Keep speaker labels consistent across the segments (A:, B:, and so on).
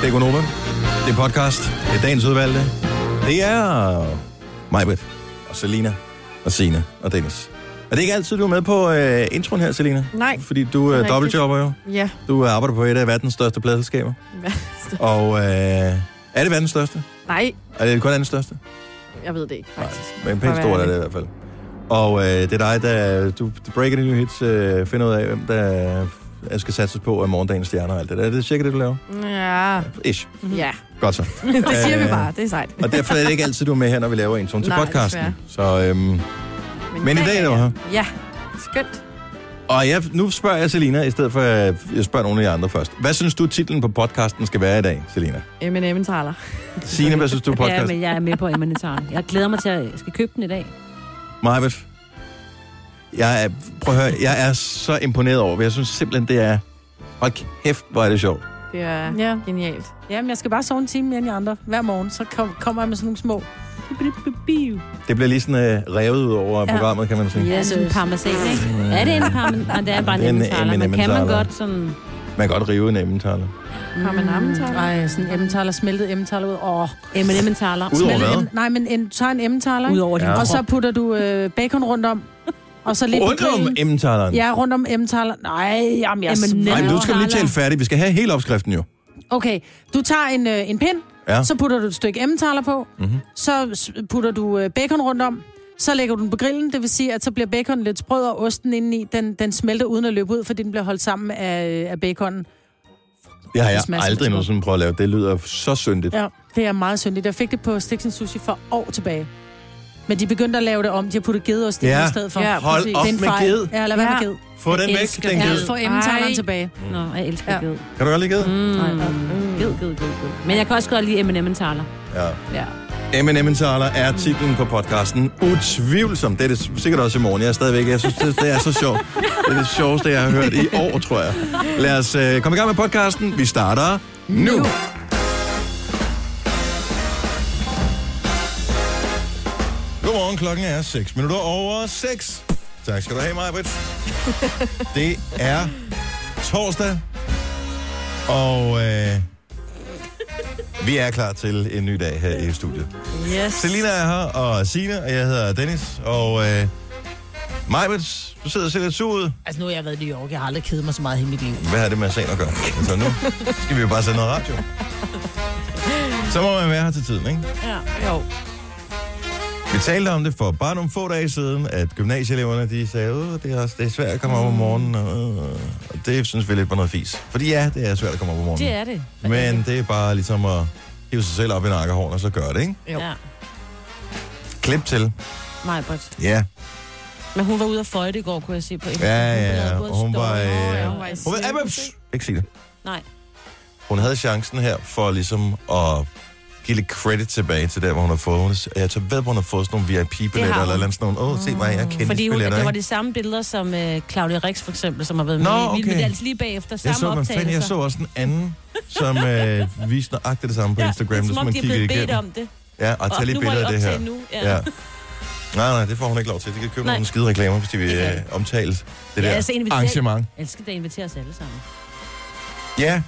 A: Det er Gunova. Det er podcast. Det er dagens udvalgte. Det er Majbet og Selina og Sina og Dennis. Og det er ikke altid, du er med på øh, introen her, Selina.
B: Nej.
A: Fordi du er
B: rigtigt.
A: dobbeltjobber jo.
B: Ja.
A: Du arbejder på et af verdens største pladselskaber. Og øh, er det verdens største?
B: Nej,
A: Er det kun andet største?
B: jeg ved det ikke faktisk.
A: Men
B: For at
A: pænt
B: være
A: stort er
B: ærlig.
A: det i hvert fald. Og øh, det er dig, der du, du breaker de nye hits, øh, finder ud af, hvem der øh, skal satses på af morgendagens stjerner og alt det der. Er det cirka det, du laver?
B: Ja.
A: Ish.
B: ja,
A: Godt så.
B: det siger vi
A: Øh,
B: bare. Det er sejt.
A: Og derfor er det ikke altid, du er med her, når vi laver en til
B: Nej,
A: podcasten. Så, øhm, men i dag er du her.
B: Ja, skønt.
A: Og jeg, nu spørger jeg Selina, i stedet for at jeg spørger nogle af jer andre først. Hvad synes du, titlen på podcasten skal være i dag, Selina?
B: M&M taler.
A: Signe, hvad synes du,
C: Ja,
A: podcast?
C: men jeg er med på Emanitaren. Jeg glæder mig til, at jeg skal købe den i dag.
A: Marvitt? Jeg er, prøv at høre, jeg er så imponeret over, for jeg synes simpelthen, det er... Hold kæft, hvor er det sjovt.
B: Det er
D: Ja.
B: genialt.
D: Jamen, jeg skal bare sove en time mere end de andre. Hver morgen, så kom, kommer jeg med sådan nogle små.
A: Det bliver lige sådan øh, revet ud over ja. programmet, kan man sige.
C: Ja, sådan en parmesan, ikke? Er det en parmesan? Nej, det er bare
A: Det er en M&M
C: en Emmentaler. Men kan man
A: Emmentaler.
C: godt sådan... M&M
A: Man kan godt rive en emmentaler.
B: Har man ammentaler?
D: Nej, sådan en emmentaler, smeltet emmentaler ud. Åh,
C: Emmen Emmentaler.
A: Udover
D: smeltet
A: hvad?
D: em- Nej, men en, så en emmentaler, ikke?
C: Udover din
A: Ja.
C: krop.
D: og så putter du øh, bacon rundt om. Og så lidt
A: Rundt om
D: grillen.
A: emmentaleren.
D: Ja, rundt om emmentaler. Nej, jamen, jeg...
C: Jamen,
A: Nej, men du skal lige tale færdig. Vi skal have hele opskriften jo.
D: Okay, du tager en, øh, en pind,
A: Ja.
D: så putter du et stykke emmentaler på,
A: Mhm.
D: så s- putter du øh, bacon rundt om, så lægger du den på grillen, det vil sige, at så bliver bacon lidt sprød, og osten indeni, den, den smelter uden at løbe ud, fordi den bliver holdt sammen af, af baconen.
A: Det har jeg
D: Det smager som
A: aldrig
D: smør.
A: nogensinde prøvet at lave. Det lyder så syndigt.
D: Ja, det er meget syndigt. Jeg fik det på Stiksen Sushi for år tilbage. Men de begyndte at lave det om. De har puttet gedeost i
A: Ja.
D: i stedet for.
B: Ja,
A: Hold
B: præcis.
A: op
D: Det er en
A: med
D: fejl.
A: ged.
D: Ja, lad være
B: Ja.
D: med ged.
A: Få den
C: Jeg
A: væk,
C: elsker
A: den
C: ged.
A: ged.
D: Ja, få emmetaleren
B: Ej.
D: tilbage.
C: Nå, jeg elsker
D: Ja.
C: ged.
A: Kan du godt lide ged?
C: Mm.
B: Mm.
C: Ged, ged, ged, ged. Men jeg kan også godt lide M&M Emmen Emmentaler.
A: Ja.
B: Ja.
A: M&M Taler er titlen på podcasten. Utvivlsomt. Det er det sikkert også i morgen. Jeg er stadigvæk. Jeg synes, det, det er så sjovt. Det er det sjoveste, jeg har hørt i år, tror jeg. Lad os øh, komme i gang med podcasten. Vi starter nu. nu. Godmorgen, klokken er 6 minutter over 6. Tak skal du have, Maja Britt. Det er torsdag, og øh, vi er klar til en ny dag her i studiet.
B: Yes.
A: Selina er her, og Sina, og jeg hedder Dennis, og øh, Majbets, du sidder og ser lidt sur ud.
D: Altså, nu har jeg været i New York. Jeg har aldrig kedet mig så meget i mit liv.
A: Hvad har det med sagen at gøre? Altså nu skal vi jo bare sende noget radio. Så må man være her til tiden, ikke?
B: Ja. Jo.
A: Vi talte om det for bare nogle få dage siden, at gymnasieeleverne de sagde, at det er, også, det er svært at komme op om morgenen. Og, øh, og det synes vi lidt var noget fis. Fordi ja, det er svært at komme op om morgenen.
C: Det er det.
A: Men det er bare ligesom at hive sig selv op i nakkehården og så gøre det, ikke?
B: Jo.
C: Ja.
A: Klip til.
C: Mig, but.
A: Ja.
C: Men hun var ude at føjte i går, kunne jeg se på Instagram.
A: Ja, ja,
C: Hun lavede
A: ja.
C: både
A: Og hun var,
C: story-
A: øh,
C: Nå, ja,
B: hun var i
A: Hun ved,
B: cirkus,
A: Psh, ikke sige det.
C: Nej.
A: Hun havde chancen her for ligesom at give lidt credit tilbage til der, hvor hun har fået. Hun er- Jeg tager ved, hvor hun har fået sådan nogle
C: Det
A: VIP-billetter
C: har
A: eller,
C: hun.
A: eller sådan nogle. Åh, se mig, jeg er
C: Fordi hun,
A: kendisbilletter,
C: det var
A: ikke?
C: de samme billeder som øh, Claudia Rix for eksempel, som har været med
A: Nå,
C: i Vild med
A: okay.
C: Dans lige bagefter.
A: Jeg
C: Samme
A: så, hvad fanden, jeg så også en anden, som øh, viste nøjagtigt det samme på Instagram,
C: det er,
A: hvis
C: som om
A: man
C: de er blevet
A: kiggede
C: bedt
A: igennem.
C: om det.
A: Ja, og tag lige billeder af det her.
C: Nu. Ja.
A: Ja. Nej, nej, det får hun ikke lov til. De kan købe
C: Nej.
A: nogle skide reklamer, hvis de vil
C: Det er
A: øh, omtale det
C: Ja,
A: der
C: altså, inviter-
A: arrangement.
C: Jeg elsker, at inviterer os alle sammen.
A: Ja,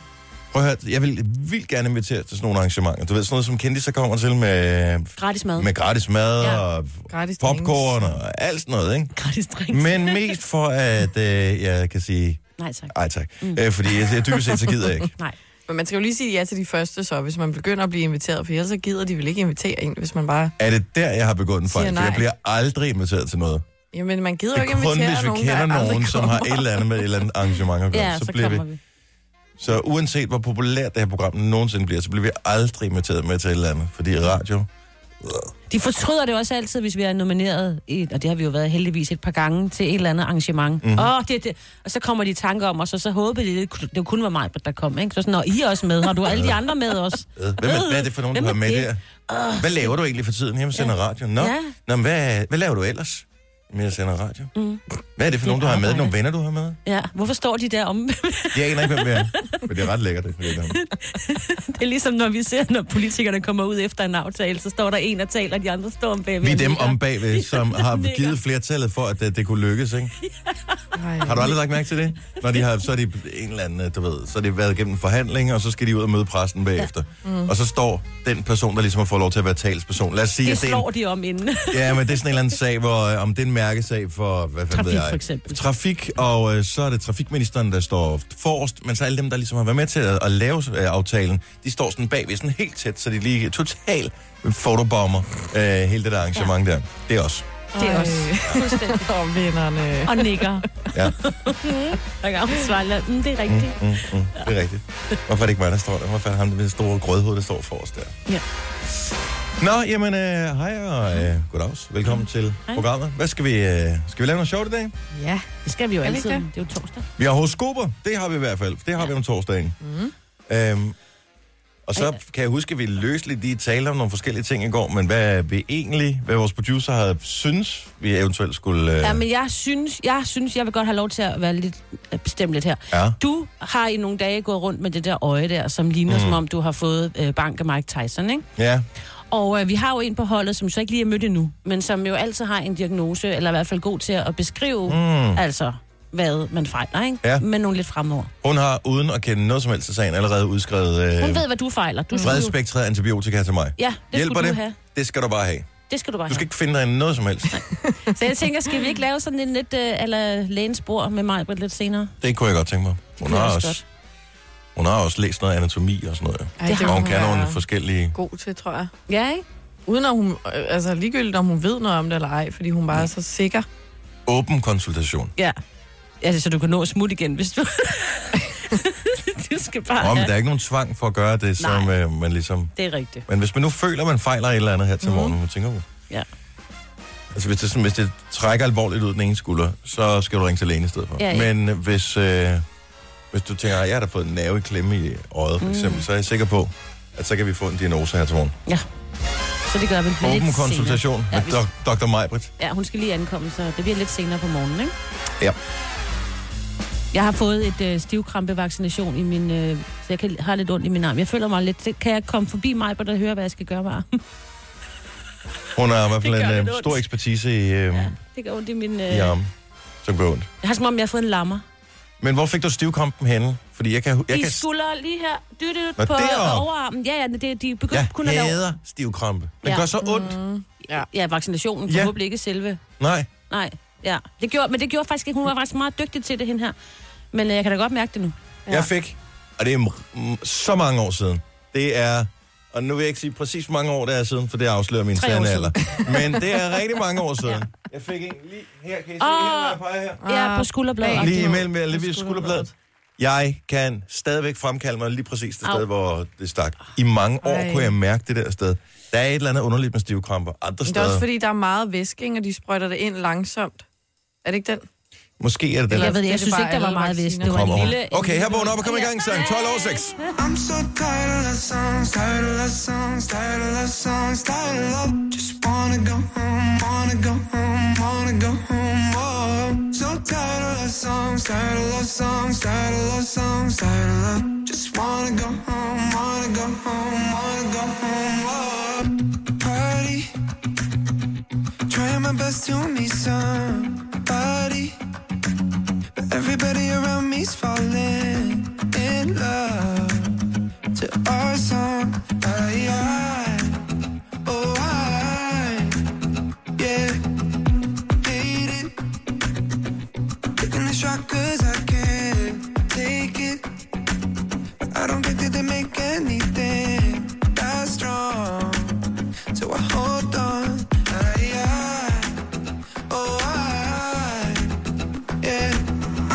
A: prøv at høre, jeg vil vildt gerne invitere til sådan nogle arrangementer. Du ved, sådan noget som Kendis, så kommer til med,
C: Gratis mad.
A: med gratis mad ja.
C: Ja.
A: og
B: Gratis
A: popcorn og alt sådan noget, ikke?
C: Gratis drinks.
A: Men mest for, at øh, jeg kan sige,
C: Nej, tak.
A: ej tak, mm. øh, fordi jeg, jeg dybest set, så gider jeg ikke.
C: Nej.
B: drinks. Men man skal jo lige sige ja til de første så, hvis man begynder at blive inviteret, for ellers så gider de vel ikke invitere en, hvis man bare...
A: Er det der, jeg har begået en
B: Siger
A: fejl? For jeg
B: nej.
A: bliver aldrig inviteret til noget.
B: Jamen, man gider jo
A: Det
B: ikke
A: er kun,
B: invitere
A: hvis vi
B: nogen,
A: kender
B: der aldrig
A: nogen, som har et eller andet med et eller andet arrangement at gøre.
C: Ja, så, så
A: bliver
C: kommer vi.
A: Så uanset hvor populært det her program nogensinde bliver, så bliver vi aldrig inviteret med til et eller andet. Fordi radio,
C: De fortryder det også altid, hvis vi er nomineret, i, og det har vi jo været heldigvis et par gange, til et eller andet arrangement.
A: Mhm.
C: Mm-hmm. Åh, det, er det. Og så kommer de i tanke om os, og så håber de, det, det kun var mig, der kom. Ikke? Så sådan, når I er også med, har du alle de andre med os?
A: Øh, Hvad, hvad, hvad er det for nogen, du
C: Hvem
A: har
C: er
A: med
C: det?
A: der? Hvad laver du egentlig for tiden? Jamen, sender radio. Nå,
C: Ja.
A: Nå men hvad, hvad laver du ellers? Men jeg sender radio.
C: Mm.
A: Hvad er det for
C: Det er
A: nogen, du har med?
C: arbejde.
A: Nogle venner, du har med?
C: Ja, hvorfor står de der om? det
A: Jeg aner ikke, hvem det er. Men det er ret lækkert, det er ham.
C: er ligesom, når vi ser, når politikerne kommer ud efter en aftale, så står der en og taler, og de andre står om bagved.
A: Vi er
C: og
A: dem
C: nikker.
A: om bagved, som har
C: Nikker.
A: givet flertallet for, at det, det kunne lykkes, ikke?
B: Nej.
A: Har du aldrig lagt mærke til det? Når de har, så er de en eller anden, øh, du ved, så er de været igennem en forhandling, og så skal de ud og møde præsten bagefter. Ja. Mm. Og så står den person, der ligesom har fået lov til at være talsperson. Lad os sige,
C: Det
A: at det er en,
C: slår de om inden.
A: ja, men det er sådan en eller anden sag, hvor øh, om det er en mærkesag for, hvad fanden ved
C: Trafik,
A: jeg?
C: for eksempel.
A: Trafik, og øh, så er det trafikministeren, der står forrest, men så alle dem, der ligesom har været med til at, at lave øh, aftalen, de står sådan bagved, sådan helt tæt, så de lige totalt fotobomber øh, hele det der arrangement ja. der. Det er også.
C: Det er også fuldstændig.
B: Ej, Og vennerne.
C: Og nikker.
A: Ja.
C: Og jeg svarer, mm, det er rigtigt.
A: Mm, mm, det er rigtigt. Hvorfor er det ikke mig, der står der? Hvorfor er det ham med det store grødhoved, der står forrest der?
C: Ja.
A: Nå, jamen, øh, hej og øh, goddags. Velkommen til programmet. Hvad skal vi, øh, skal vi lave noget sjovt i dag?
C: Ja,
A: Mm.
C: det skal vi jo
B: Skal vi
C: altid.
B: ikke
C: Det? er jo torsdag.
A: Vi har horoskoper. Det har vi i hvert fald. Det har ja. vi om torsdagen. Mm. Øhm, og så kan jeg huske, at vi løsligt lige talte om nogle forskellige ting i går, men hvad vi egentlig, hvad vores producer havde synes, vi eventuelt skulle... Øh,
C: Ja, men jeg synes, jeg synes, jeg vil godt have lov til at være lidt, at bestemme lidt her.
A: ja.
C: Du har i nogle dage gået rundt med det der øje der, som ligner, mm. som om du har fået øh, bank af Mike Tyson, ikke?
A: ja.
C: Og øh, vi har jo en på holdet, som så ikke lige er mødt endnu, men som jo altid har en diagnose, eller i hvert fald god til at beskrive,
A: hmm.
C: mm. altså, hvad man fejler, ikke?
A: Ja.
C: Men nogle lidt fremover.
A: Hun har, uden at kende noget som helst til sagen, allerede udskrevet
C: Hun
A: øh,
C: ved, hvad du fejler. Du skulle jo-
A: bredspektret antibiotika til mig.
C: Ja, det
A: Hjælper
C: skulle
A: det?
C: du have.
A: Det skal du bare have.
C: Det skal du bare
A: Du skal
C: have.
A: ikke finde dig i noget som helst.
C: Så jeg tænker, skal vi ikke lave sådan en lidt øh, eller lægens bord med mig lidt senere?
A: Det kunne jeg godt tænke mig. Hun
C: kunne jeg
A: har,
C: også
A: også, hun har også læst noget anatomi og sådan noget. jo.
B: Ej,
C: Det har
A: Og
B: må
A: hun kan
B: være
A: nogle forskellige...
B: god til, tror jeg.
C: Ja, ikke?
B: Uden at hun, øh, altså ligegyldigt om hun ved noget om det eller ej, fordi hun bare er så sikker.
A: Åben konsultation.
C: Ja. Altså, så du kan nå at smutte igen, hvis du... du skal bare...
A: Nå, men
C: have-
A: der er ikke nogen tvang for at gøre det, som øh, man ligesom...
C: Det er rigtigt.
A: Men hvis man nu føler, at man fejler et eller andet her til morgen, mm. tænker du?
C: Mhm. Ja.
A: Altså, hvis det, sådan, hvis det trækker alvorligt ud den ene skulder, så skal du ringe til lægen i stedet for.
C: Ja, ja.
A: Men hvis, øh, hvis du tænker, at jeg har da fået en nerve i klemme i øjet,
C: Mm.
A: for eksempel, så er jeg sikker på, at så kan vi få en diagnose her til morgen.
C: Ja. Så det gør vi lidt
A: Åben
C: senere.
A: konsultation
C: Ja,
A: med
C: vi-
A: dok- Dr. Majbrit.
C: Ja, hun skal lige ankomme, så det bliver lidt senere på morgenen, ikke?
A: Ja.
C: Jeg har fået et øh, stivkrampevaccination i min... Øh, så jeg kan, har lidt ondt i min arm. Jeg føler mig lidt... Kan jeg komme forbi mig, og høre, hvad jeg skal gøre med armen?
A: Hun har i hvert fald
C: Det gør
A: en
C: lidt
A: øh,
C: ondt.
A: stor ekspertise i, øh, ja.
C: det gør ondt i min... Øh,
A: i armen, som gør ondt.
C: Jeg har som om, jeg har fået en lammer.
A: Men hvor fik du stivkampen henne? Fordi jeg kan... Jeg
C: Jeg de
A: kan
C: skulder lige her, dyttet
A: Nå,
C: på
A: deroppe.
C: overarmen. Ja, ja, det, de begynder
A: jeg
C: kun at lave...
A: hader stivkrampe. Den
C: Ja.
A: gør så ondt. Mm.
C: Ja, vaccinationen,
A: Ja.
C: forhåbentlig ikke selve.
A: Nej.
C: Nej, ja. Det gjorde, men det gjorde faktisk ikke. Hun var faktisk meget dygtig til det, hende her. Men øh, jeg kan da godt mærke det nu.
A: Ja. Jeg fik, og det er m- m- så mange år siden, det er, og nu vil jeg ikke sige præcis hvor mange år det er siden, for det afslører min
C: Tre år
A: sande alder. Men det er rigtig mange år siden. Jeg fik en lige her, kan I se
C: Åh.
A: oh. her, her?
C: Ja, på skulderbladet.
A: Lige imellem ved lige ved skulderbladet. Jeg kan stadigvæk fremkalde mig lige præcis det
C: Au.
A: sted, hvor det stak. I mange år Ej.
B: Ej.
A: kunne jeg mærke det der sted. Der er et eller andet underligt med stivkramper. Andre
B: Men det er også
A: steder.
B: fordi, der er meget væske, ikke? og de sprøjter det ind langsomt. Er det ikke den?
A: Måske er det den.
B: Eller
C: Jeg ved,
B: Det er
C: jeg
B: det
C: synes
B: bare
C: ikke, der var
B: alle
C: meget vist. Det var
A: Kommer
C: en
A: over.
C: lille...
A: Okay, her vågner op og kom i gang, sang 12 over 6.
E: I'm so tired of love songs, tired of love songs, tired of love songs, tired of love. Just wanna go home, wanna go home, wanna go home. Oh, so tired of love songs, tired of love songs, tired of love songs, tired of love. Just wanna go home, wanna go home, wanna go home. Oh, party, trying my best to meet somebody. Everybody around me's falling in love to our song. I, I, oh, I, yeah, hate it. Taking the shot 'cause I can't take it. I don't think that they make anything that strong. So I hold on. I, I, oh, I, yeah.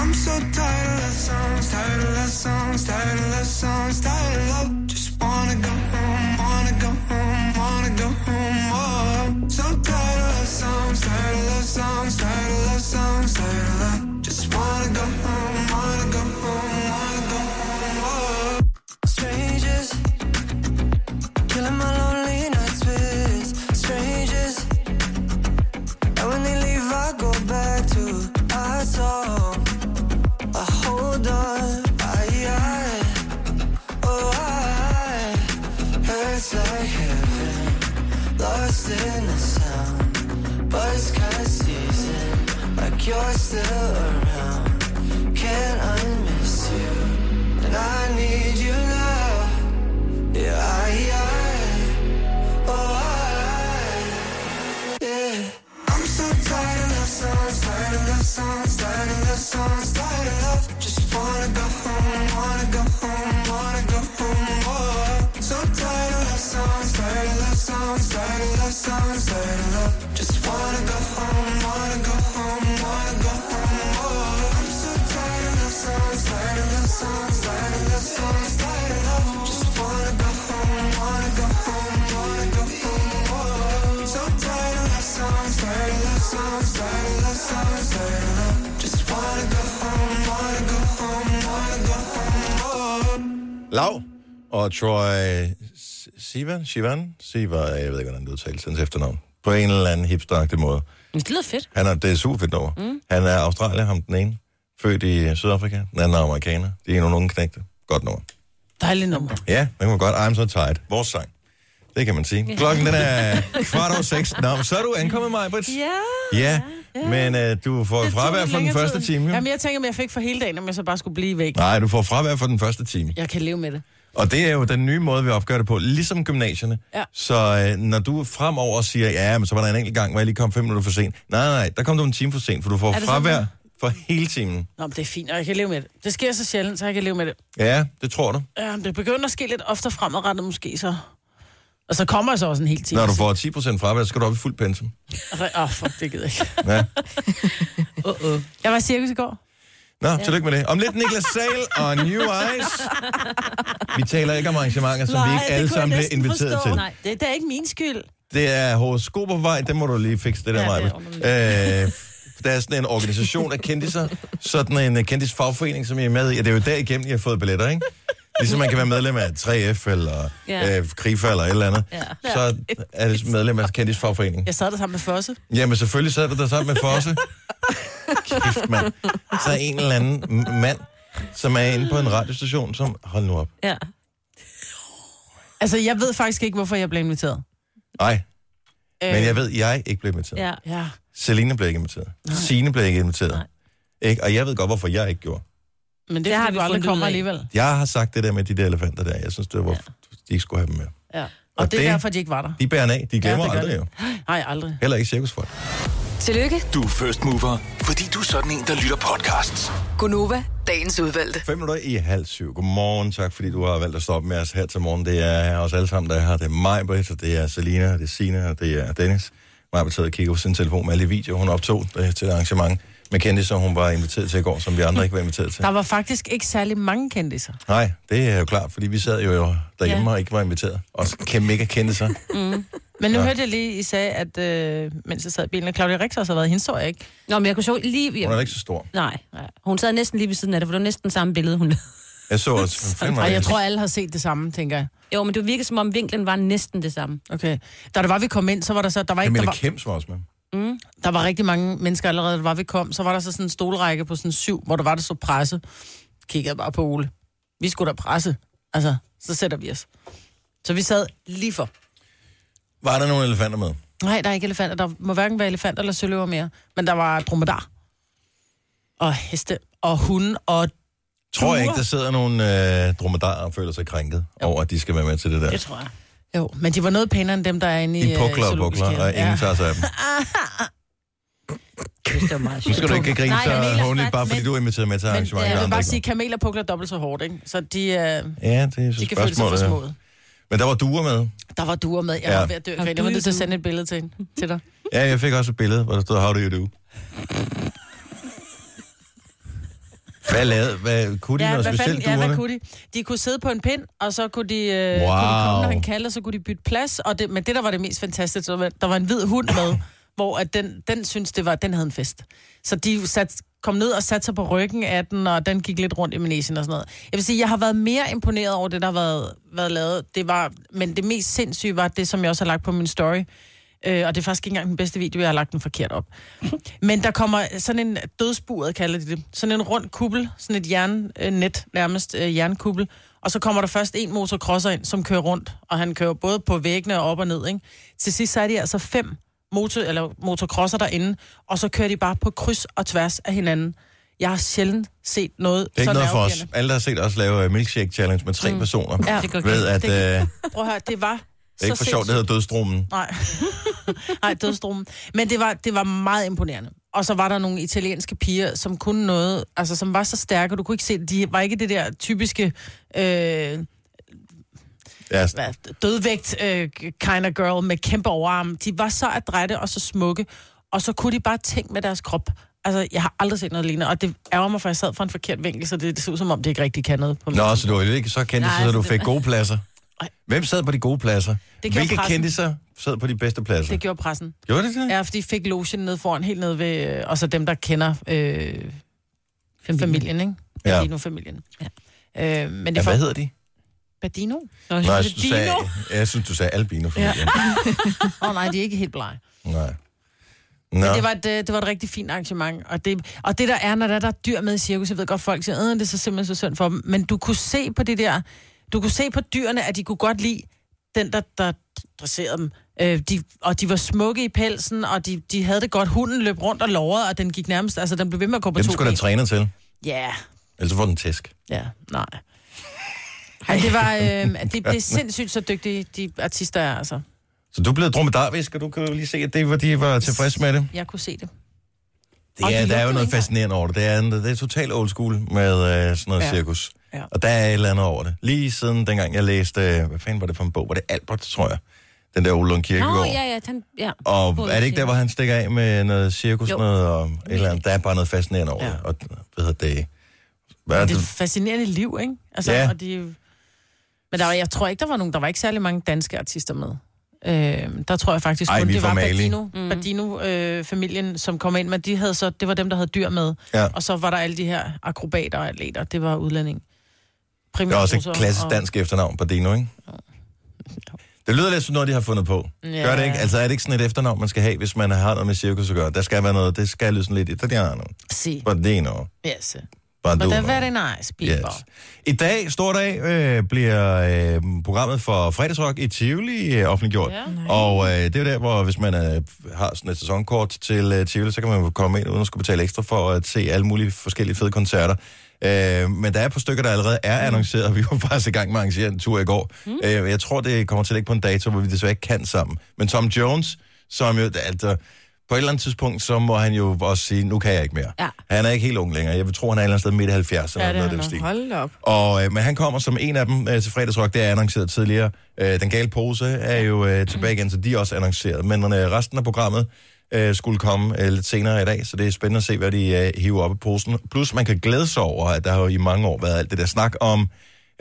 E: I'm so tired of love songs, tired of love songs, tired of love songs, tired of love. Just wanna go home, wanna go home, wanna go home. Oh, so tired of love songs, tired of love songs, tired of love songs, tired of love. Just wanna go home, wanna go home, wanna go home. Oh, strangers killing my lonely nights with strangers. And when they leave, I go oh, you're still around. Can't unmiss you. And I need you now. Yeah, I, I, oh, I, yeah. I'm so tired of love songs, tired of love songs, tired of love songs, tired of love. Just wanna go home, wanna go home, wanna go home. Oh, so tired of love songs, tired of love songs, tired of love songs, tired of love. Just wanna go home, wanna go home, wanna go home. Oh, I'm so tired of love songs, tired of love songs, tired of love songs, tired of love. Just wanna go home, wanna go home, wanna go home. Oh, so tired of love songs, tired of love songs, tired of love songs, tired of love. Just wanna go home, wanna go home, wanna go home. Oh.
A: Lav og Troy S- Sivan, Sivan, Sivan, jeg ved ikke, hvordan det udtales, hans efternavn, på en eller anden hipsteragtig måde.
C: Men det lyder fedt.
A: Han er, det er super fedt over. Mm. Han er australier, ham den ene, født i Sydafrika, den anden er amerikaner. De er nogle unge knægte. Godt nummer.
D: Dejlig nummer.
A: Ja, man kan man godt. I'm so tired. Vores sang. Det kan man sige. Klokken den er kvart over seks. Nå, men så er du ankommet, mig, Brits.
D: Ja.
A: Ja, men øh, du får
D: Det tog
A: fravær
D: lidt
A: for den
D: længere
A: første
D: tid.
A: time, jo.
D: Jamen, jeg tænker, om jeg fik for hele dagen, om jeg så bare skulle blive væk.
A: Nej, du får fravær for den første time.
D: Jeg kan leve med det.
A: Og det er jo den nye måde, vi opgør det på, ligesom gymnasierne.
D: Ja.
A: Så øh, når du fremover siger, ja, men så var der en enkelt gang, hvor jeg lige kom fem minutter for sent. Nej, nej, nej, der kom du en time for sent, for du får
D: det
A: fravær
D: sådan?
A: for hele timen.
D: Nå, men det er fint, og jeg kan leve med det. Det sker så sjældent, så jeg kan leve med det.
A: Ja, det tror du.
D: Ja, men det begynder at ske lidt oftere fremadrettet måske, så... Og så kommer jeg så også en hel time.
A: Når du får 10% fravær, så skal du op i fuld pensum.
D: Åh, oh, fuck, det gider jeg ikke.
A: Ja.
D: Jeg var i cirkus i går.
A: Nå, ja. tillykke med det. Om lidt Niklas Sale og New Eyes. Vi taler ikke om arrangementer, som vi
D: Nej,
A: ikke
D: det
A: alle
D: kunne jeg
A: sammen bliver
D: næsten
A: inviteret
D: forstå.
A: til.
C: Nej.
D: Det er da ikke min skyld.
A: Det er horoskop på vej, det må du lige fikse, det der,
D: Ja,
A: ja,
D: det er
A: øh, Der er sådan en organisation af kendiser, sådan en øh, kendisfagforening, som jeg er med i, og det er jo derigennem, jeg har fået billetter, ikke? Ligesom man kan være medlem af 3F eller ja.
C: Ja.
A: øh, Krifa eller et eller andet, ja.
C: Ja.
A: så er det medlem af kendisfagforeningen.
D: Jeg sad der sammen med Fosse.
A: Jamen selvfølgelig sad du der sammen med Fosse. Kæft, mand. Så er en eller anden m- mand, som er inde på en radiostation, som... Hold nu op.
C: Ja.
D: Altså, jeg ved faktisk ikke, hvorfor jeg blev inviteret.
A: Nej, men
D: Øh.
A: jeg ved, jeg ikke blev inviteret. Ja.
C: ja.
D: Ja.
A: Selina blev ikke inviteret. Signe blev ikke inviteret.
C: Nej.
A: Ikke? Og jeg ved godt, hvorfor jeg ikke gjorde.
D: Men det,
C: Det
D: det
C: har
D: har vi
C: vi
D: du aldrig
C: fundet ud
D: kommer
C: af.
D: alligevel.
A: Jeg har sagt det der med de der elefanter der. Jeg synes, det var, hvorfor ja. de ikke skulle have dem med.
D: Ja. Og,
A: Og
D: det er
A: det-
D: derfor, de ikke var der.
A: De bærer den af. De glemmer
D: det
A: ja,
D: gør
A: aldrig
D: de.
A: jo.
D: Nej, aldrig.
A: Heller ikke cirkusfolk.
F: Tillykke,
G: Du er first mover, fordi du er sådan en, der lytter podcasts.
F: Gunova, dagens udvalgte.
A: 5 minutter i halv syv. Godmorgen, tak fordi du har valgt at stoppe med os her til morgen. Det er os alle sammen, der er her. Det er mig, Britt, og det er Selina, og det er Sina, og det er Dennis. Mig har taget og kigget på sin telefon med alle de videoer, hun optog øh, til et arrangement med kendte, som hun var inviteret til i går, som vi andre ikke var inviteret til.
D: Der var faktisk ikke særlig mange kendiser.
A: Nej, det er jo klart, fordi vi sad jo derhjemme og ikke var inviteret. Og kan mega kende sig.
D: Men nu ja. hørte jeg lige, I sagde, at øh, mens jeg sad i bilen, at Claudia Rix også har været i hendes historie, ikke?
C: Nå, men jeg kunne så lige...
A: Hun er da ikke så stor.
C: Nej, nej. hun sad næsten lige ved siden af det, for det var næsten samme billede, hun lavede.
A: Jeg så også... Fandme,
D: Og jeg tror, alle har set det samme, tænker jeg.
C: Jo, men det virkede som om vinklen var næsten det samme.
D: Okay. Da det var, vi kom ind, så var der så... Der var, ikke, der
A: Camilla
D: var,
A: Kemps var også med.
D: der var rigtig mange mennesker allerede, da var, vi kom. Så var der så sådan en stolrække på sådan syv, hvor der var, der så presse. Kiggede jeg bare på Ole. Vi skulle da presse. Altså, så sætter vi os. Så vi sad lige for.
A: Var der nogle elefanter med?
D: Nej, der er ikke elefanter. Der må hverken være elefanter eller søløver mere. Men der var dromedar. Og heste. Og hunde. Og
A: Tror jeg
D: Ture.
A: ikke, der sidder nogle øh, dromedarer og føler sig krænket over, at de skal være med til det der.
C: Det tror jeg.
D: jo, men de var noget pænere end dem, der er inde i...
A: De
D: øh,
A: pukler og
D: zoologisk
A: pukler, og
D: have.
A: ingen
D: Ja.
A: tager sig af dem.
C: Jeg synes, det var meget
A: Nu skal du ikke grine
C: Nej, jeg
A: så
C: mener
A: håndligt, bare
C: faktisk-
A: fordi du er inviteret med til
D: Men øh,
A: arrangementet.
D: jeg
A: andre
D: vil bare
A: ikke
D: sige, at kameler pukler dobbelt så hårdt, ikke? Så de, øh,
A: må. Ja, det er så
D: de kan føle sig for
A: spørgsmålet. ja.
D: smået.
A: Men der var duer med.
D: Der var duer med. Jeg
A: Ja.
D: var ved at dø. af grin. Jeg var nødt til at sende et billede til, hende, til dig.
A: Ja, jeg fik også et billede, hvor der stod, how do you do? Hvad lavede, hvad, kunne de ja, noget
D: hvad
A: specielt,
D: ja, hvad
A: duerne?
D: kunne de? De kunne sidde på en pind, og så kunne de, øh,
A: Wow.
D: kunne de komme, når han kaldte, og så kunne de bytte plads. Og det, men det, der var det mest fantastiske, der var, der var en hvid hund med, hvor at den, den synes det var, den havde en fest. Så de sat, kom ned og satte sig på ryggen af den, og den gik lidt rundt i manesien og sådan noget. Jeg vil sige, jeg har været mere imponeret over det, der har været, været lavet. Det var, men det mest sindssyge var det, som jeg også har lagt på min story. Øh, og det er faktisk ikke engang den bedste video, jeg har lagt den forkert op. Men der kommer sådan en dødsburet, kalder de det. Sådan en rund kubbel, sådan et jernnet, nærmest øh, jernkubbel. Og så kommer der først en motocrosser ind, som kører rundt, og han kører både på væggene og op og ned. Ikke? Til sidst så er de altså fem motor, eller motocrosser derinde, og så kører de bare på kryds og tværs af hinanden. Jeg har sjældent set noget
A: Det er ikke
D: så
A: noget for os.
D: nervepirrende.
A: Alle, der har set os lave øh, milkshake challenge med tre mm. personer,
D: Ja,
C: det går
A: ved, at øh, det er
D: Prøv at høre, det var så
A: ikke for sjovt, det
D: sindssygt.
A: hedder dødstrummen.
D: Nej. Nej, dødsdrummen. Men det var, det var meget imponerende. Og så var der nogle italienske piger, som kunne noget, altså som var så stærke, du kunne ikke se, det. de var ikke det der typiske øh,
A: Ja,
D: hvad, dødvægt øh, kind of girl med kæmpe overarm. De var så adrætte og så smukke, og så kunne de bare tænke med deres krop. Altså, jeg har aldrig set noget lignende, og det ærger mig, for jeg sad fra en forkert vinkel, så det, det ser ud som om, det ikke rigtig kan noget. På min
A: Nå,
D: tid.
A: så du var ikke så kendte,
C: Nej,
A: så du
C: altså,
A: fik
C: det-
A: gode pladser.
D: Ej.
A: Hvem sad på de gode pladser?
D: Det gjorde
A: Hvilke
D: pressen.
A: kendte sig sad på de bedste pladser?
D: Det gjorde pressen.
A: Gjorde det det?
D: Ja, for de fik logen ned foran, helt ned ved, øh, og så dem, der kender øh, familien. familien, ikke?
A: Ja.
D: Ja. familien Ja. Øh, men det
A: Ja, hvad
D: er for
A: hedder de?
D: Badino.
C: Nå,
A: Nå, jeg,
C: det
A: synes, du sagde, jeg synes, du sagde albino familien.
D: Åh oh, nej, de er ikke helt blege.
A: Nej.
D: Ja.
A: Nå,
D: Det, var et, øh, det var et rigtig fint arrangement. Og det, og det der er, når der er, der er dyr med i cirkus, jeg ved godt, folk siger, at det er så simpelthen så synd for dem. Men du kunne se på det der, du kunne se på dyrene, at de kunne godt lide den, der, der dresserede dem. Øh, de, og de var smukke i pelsen, og de, de havde det godt. Hunden løb rundt og lovede, og den gik nærmest, altså den blev ved med at gå på
A: dem
D: to
A: skulle der
D: ben.
A: træne til,
D: Ja,
A: ellers så får den tæsk.
D: ja, nej. Ej, det var, øh, det, det er sindssygt så dygtige, de artister er, altså.
A: Så du er blevet dromedarvisk, og du kan jo lige se, at det var, de var tilfredse med det.
D: Jeg kunne se det.
A: det
D: Og
A: er,
D: de
A: der er jo
D: lugtede
A: noget
D: ikke engang.
A: fascinerende over det. Det er, en- det er totalt old school med øh, sådan noget ja.
D: Ja.
A: cirkus.
D: Ja.
A: Og der er et eller andet over det. Lige siden dengang jeg læste, øh, hvad fanden var det for en bog? Var det Albert, tror jeg? Den der Ole Lund Kirkegaard.
C: Nå, ja, ja, han, ja.
A: Og
C: Både
A: er det ikke der, hvor han stikker af med noget cirkus
C: Jo.
A: noget, og et eller andet? Der er bare noget fascinerende over
D: Ja.
A: det. Og hvad hedder det? Hvad er
D: Det er et
A: det?
D: fascinerende liv, ikke? Altså,
A: Ja.
D: ja. og de, men der var, jeg tror ikke, der var nogen, der var ikke særlig mange danske artister med. Øh, der tror jeg faktisk
A: Ej,
D: kun,
A: vi er
D: det
A: fra
D: var
A: Mali.
D: Badino, mm. Badino øh, familien, som kom ind, men de havde så, det var dem, der havde dyr med.
A: Ja.
D: Og så var der alle de her akrobater og atleter, det var udlænding.
A: Det er også
D: Primusrusser
A: et klassisk
D: og-
A: dansk efternavn på Dino, ikke? Det lyder lidt som noget, de har fundet på.
D: Ja.
A: Gør det ikke? Altså, er det ikke sådan et efternavn, man skal have, hvis man har noget med cirkus at gøre? Der skal være noget, det skal lyde sådan lidt italiano.
D: Si,
A: På Dino.
D: yes.
A: Baduno.
D: But that very nice people.
A: Yes. I dag, stor dag, øh, bliver øh, programmet for fredagsrock i Tivoli øh, offentliggjort.
D: Ja.
A: Ja. Og øh, det er jo der, hvor hvis man øh, har sådan et sæsonkort til øh, Tivoli, så kan man jo komme ind uden at skulle betale ekstra for at se alle mulige forskellige fede koncerter. Øh, men der er et par stykker, der allerede er annonceret, og vi var faktisk i gang med at arrangere en tur i går. Mm. Øh, jeg tror, det kommer til at ligge på en dato, hvor vi desværre ikke kan sammen. Men Tom Jones, som jo... Altså, på et eller andet tidspunkt, så må han jo også sige, nu kan jeg ikke mere.
C: Ja.
A: Han er ikke helt ung længere. Jeg vil tro, han er et eller andet sted midt i 70'erne.
D: Ja,
A: eller noget
D: det er
A: af den
D: han
A: stil.
B: Hold da op.
A: Og, øh, men han kommer som en af dem øh, til fredagsrock, det er annonceret tidligere. Øh, den gale pose er jo øh, tilbage igen, så de er også annonceret. Men øh, resten af programmet øh, skulle komme øh, lidt senere i dag, så det er spændende at se, hvad de øh, hiver op af posen. Plus man kan glæde sig over, at der har jo i mange år været alt det der snak om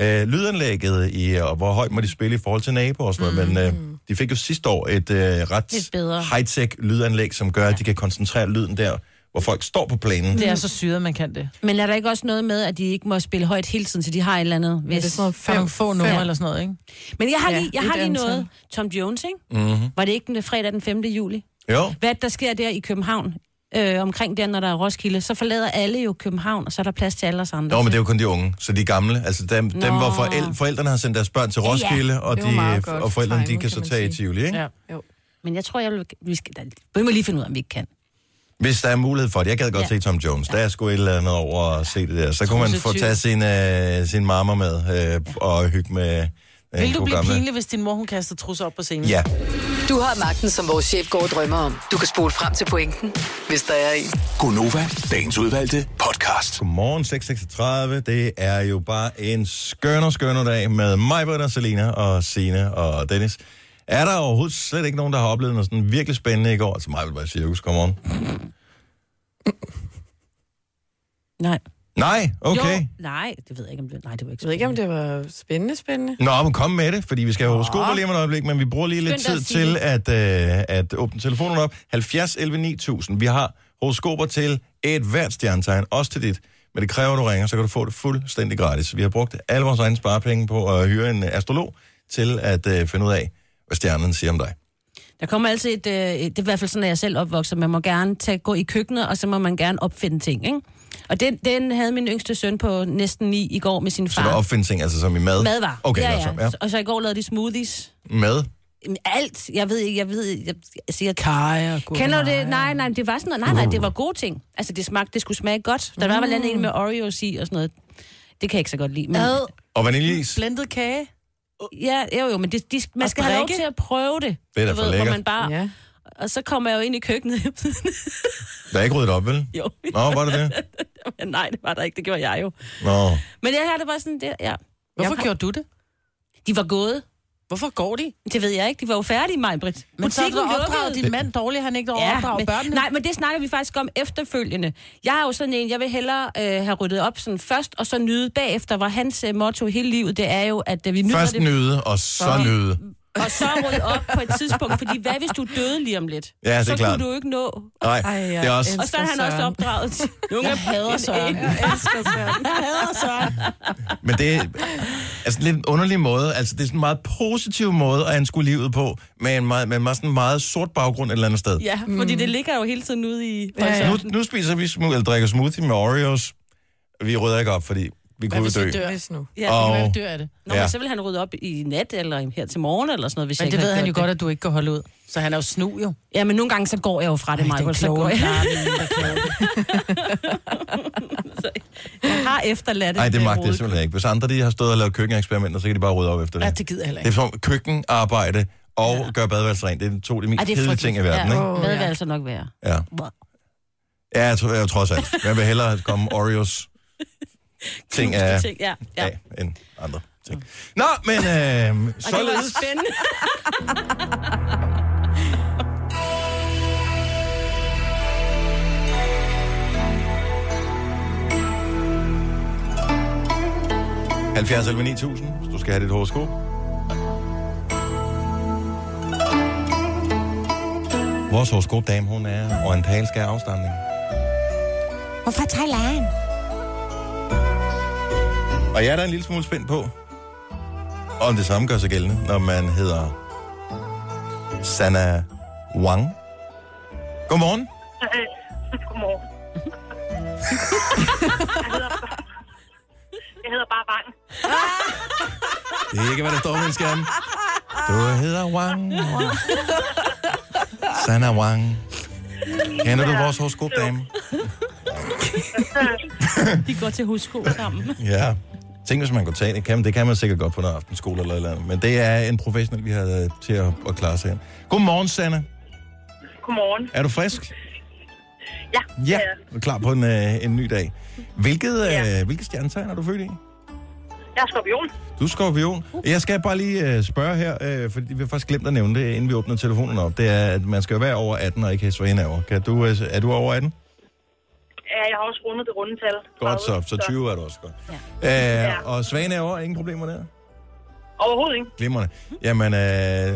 A: øh, lydanlægget, i, øh, og hvor højt må de spille i forhold til naboer og sådan noget. Men øh,
D: Mm.
A: de fik jo sidste år et øh, ret
C: Lidt bedre.
A: high-tech lydanlæg, som gør, at de kan koncentrere lyden der, hvor folk står på planen.
D: Det er så syret, man kan det.
C: Men er der ikke også noget med, at de ikke må spille højt hele tiden, så de har et eller andet?
B: Ja, det er sådan noget
D: Der er
B: fem,
D: nogle få numre
C: Ja.
D: eller sådan noget, ikke?
C: Men jeg har
B: Ja,
C: lige, jeg
B: et
C: har lige
B: antal.
C: noget. Tom Jones, ikke?
A: Mhm.
C: Mm-hmm. Var det ikke den fredag den 5. juli?
A: Jo.
C: Hvad der sker der i København, øh, omkring der, når der er Roskilde, så forlader alle jo København, og så er der plads til alle os andre.
A: Nå, men det er jo kun de unge, så de gamle. Altså dem, dem hvor forældre, forældrene har sendt deres børn til Roskilde, ja, og,
B: Det var meget
A: de,
B: godt
A: og forældrene de
B: timet,
A: kan så
B: kan man
A: tage i
B: sige.
A: Tivoli. Ikke? Ja.
D: Ja.
C: men jeg tror, jeg vil, vi, skal, da- vi må lige finde ud af, om vi ikke kan.
A: Hvis der er mulighed for det. Jeg gad godt ja.
C: Ja.
A: se Tom Jones. Der er sgu et eller andet over at se det der. Så kunne man få
D: 22.
A: tage sin, øh, sin mamma med øh, og hygge med øh,
D: Vil du blive pinlig, hvis din mor hun kaster trusser op på scenen?
A: Ja.
F: Du har magten, som vores chef går og drømmer om. Du kan spole frem til pointen, hvis der er en.
G: Gonova, dagens udvalgte podcast.
A: Godmorgen 6.36. Det er jo bare en skønner, skønner dag med mig, Britt og Selina og Sine og Dennis. Er der overhovedet slet ikke nogen, der har oplevet noget sådan virkelig spændende i går? Altså mig vil bare sige, cirkus, godmorgen.
C: Nej.
A: Nej, okay.
C: Jo, nej, det ved jeg ikke, om det, nej, det var ikke
B: Jeg ved ikke, om det var spændende, spændende.
A: Nå, men kom med det, fordi vi skal have horoskoper lige om et øjeblik, men vi bruger lige lidt
C: Skynd dig
A: tid
C: at sige
A: til at, øh, at åbne telefonen op. 70 11 9000. Vi har horoskoper til et hvert stjernetegn, også til dit. Men det kræver, at du ringer, så kan du få det fuldstændig gratis. Vi har brugt alle vores egne sparepenge på at hyre en astrolog til at øh, finde ud af, hvad stjernen siger om dig.
C: Der kommer altid et, øh, det er i hvert fald sådan, at jeg selv opvokser, man må gerne tage, gå i køkkenet, og så må man gerne opfinde ting, ikke? Og den, den havde min yngste søn på næsten ni i går med sin
A: Så du
C: far.
A: opfinder ting, altså som i mad?
C: Ah. Madvarer.
A: Okay,
C: ja,
A: godt så,
C: ja. Og så i går lavede de smoothies.
A: ja. Mad?
C: Jamen, Alt. Jeg ved ikke, jeg ved ikke. Jeg, altså, jeg,
D: Kaja, gurkemeje.
C: Kender du det? Nej, nej, det var sådan noget. Nej, nej, det var gode ting. Altså, det smagte, det skulle smage godt. Der var mm. blandt andet en med Oreos i og sådan noget. Det kan jeg ikke så godt lide. Men,
D: Ad,
A: Og vaniljeis,
D: blendet kage.
C: ja, jo, jo, men det, de, man
D: Og
C: skal have lov
D: drikke.
C: til at prøve det.
A: Det er da
C: Du
A: for
C: ved,
A: lækkert.
C: Hvor man bare,
B: Ja.
C: Og så kommer jeg jo ind i køkkenet.
A: der er ikke ryddet op, vel?
C: jo,
A: Nå, var det det?
C: men nej, det var der ikke. Det gjorde jeg jo.
A: Nå.
C: Men det her, det var sådan, det, ja.
D: Hvorfor gjorde du det?
C: De var gået.
D: Hvorfor går de?
C: Det ved jeg ikke. De var jo færdige, Majbrit.
D: Men så har du da opdraget
C: lukkede.
D: din mand dårligt, han ikke ja, opdrager
C: men,
D: børnene.
C: Nej, men det snakker vi faktisk om efterfølgende. Jeg er jo sådan en, jeg vil hellere øh, have ryddet op sådan først, og så nyde bagefter, hvor hans øh, motto hele livet, det er jo, at øh, vi nyder
A: Først
C: det,
A: nyde, og så nyde.
C: og så rydde op på et tidspunkt, fordi hvad hvis du døde lige om lidt?
A: Ja, det er
C: så
A: klart.
C: kunne du jo ikke nå.
A: Nej,
B: Ej, jeg
A: det er også...
B: elsker-
C: Og så er han også
B: Søren.
C: opdraget til nogle
D: Jeg hader Søren. Jeg elsker Søren. Jeg hader Søren.
A: Men det er altså, lidt en underlig måde. Altså, det er sådan en meget positiv måde at anskue livet på, med en meget, med en meget, sådan meget sort baggrund et eller andet sted.
C: Ja, fordi
D: Mm.
C: det ligger jo hele tiden ude i...
B: Ja, ja.
A: Nu, nu spiser vi smu- eller drikker smoothie med Oreos. Vi rydder ikke op, fordi vi
D: Hvad
A: kunne
D: hvis
A: dø.
D: vi dør?
B: Hvis nu.
C: Ja,
A: Og-
C: og...
D: Hvad hvis vi dør af det?
C: Nå,
A: ja.
C: men så vil han rydde op i nat, eller her til morgen, eller sådan noget, hvis
D: Men
C: jeg
D: det
C: ikke
D: ved
C: havde
D: han jo
C: gjort
D: godt, at du ikke kan holde ud. Så han er jo snu jo.
C: det. Ja, men nogle gange så går jeg jo fra det,
D: Ej, den
C: Michael. Så går
D: kloge,
C: jeg.
D: Clara, det er hende, der klager.
C: jeg har efterladt
A: Nej, det
C: øh,
A: magter jeg
C: rodet.
A: simpelthen ikke. Hvis andre de har stået og lavet køkkeneksperimenter, så kan de bare rydde op efter det.
D: Ja, det gider jeg heller
A: Det er
D: ikke.
A: som køkkenarbejde og ja. gøre badeværelset rent. Det er to af de mest
C: Ej, det er
A: kedelige ting i verden,
C: ja.
A: ikke?
B: Åh,
C: Hvad vil
B: ja.
C: altså nok være?
A: Ja. Ja, jeg tror, jeg trods alt. Man vil hellere komme Oreos ting af,
C: ting. Ja, ja. Mm.
A: af end andre ting. Nå, men øh,
C: Og det var
A: således.
C: spændende.
A: var 70 11 9000, hvis du skal have dit horoskop. Vores horoskopdame, hun er orientalsk af afstamning.
H: Hvorfor Thailand?
A: Og jeg er da en lille smule spændt på, om det samme gør sig gældende, når man hedder Sanna Wang. Godmorgen.
I: Øh, Godmorgen. jeg, hedder bare, jeg hedder bare Vang.
A: Det er ikke, hvad der står på min skærm. Du hedder Wang. Sanna Wang. Kender du vores horoskopdame?
C: De går til husko sammen.
A: Ja. Tænk, hvis man kunne tage det. Kan, det kan man sikkert godt på noget aftenskole eller et eller andet. Men det er en professionel, vi har øh, til at, at klare sig hen. Godmorgen, Sanna.
I: Godmorgen.
A: Er du frisk?
I: Ja,
A: Ja,
I: det er jeg.
A: du er klar på en, øh, en ny dag. Hvilket, øh, hvilket stjernetegn er du født i?
I: Jeg er skorpion. Uh.
A: Du er skorpion. Jeg skal bare lige øh, spørge her, øh, fordi vi har faktisk glemt at nævne det, inden vi åbner telefonen op. Det er, at man skal jo være over 18 og ikke have svaner over. Kan du, øh, er du over 18?
I: Ja, jeg har også rundet det runde tal.
A: Godt så, så 20 er du også godt. Ja. Øh, og svaner over, ingen problemer der?
I: Overhovedet ikke.
A: Glimrende. Jamen, øh,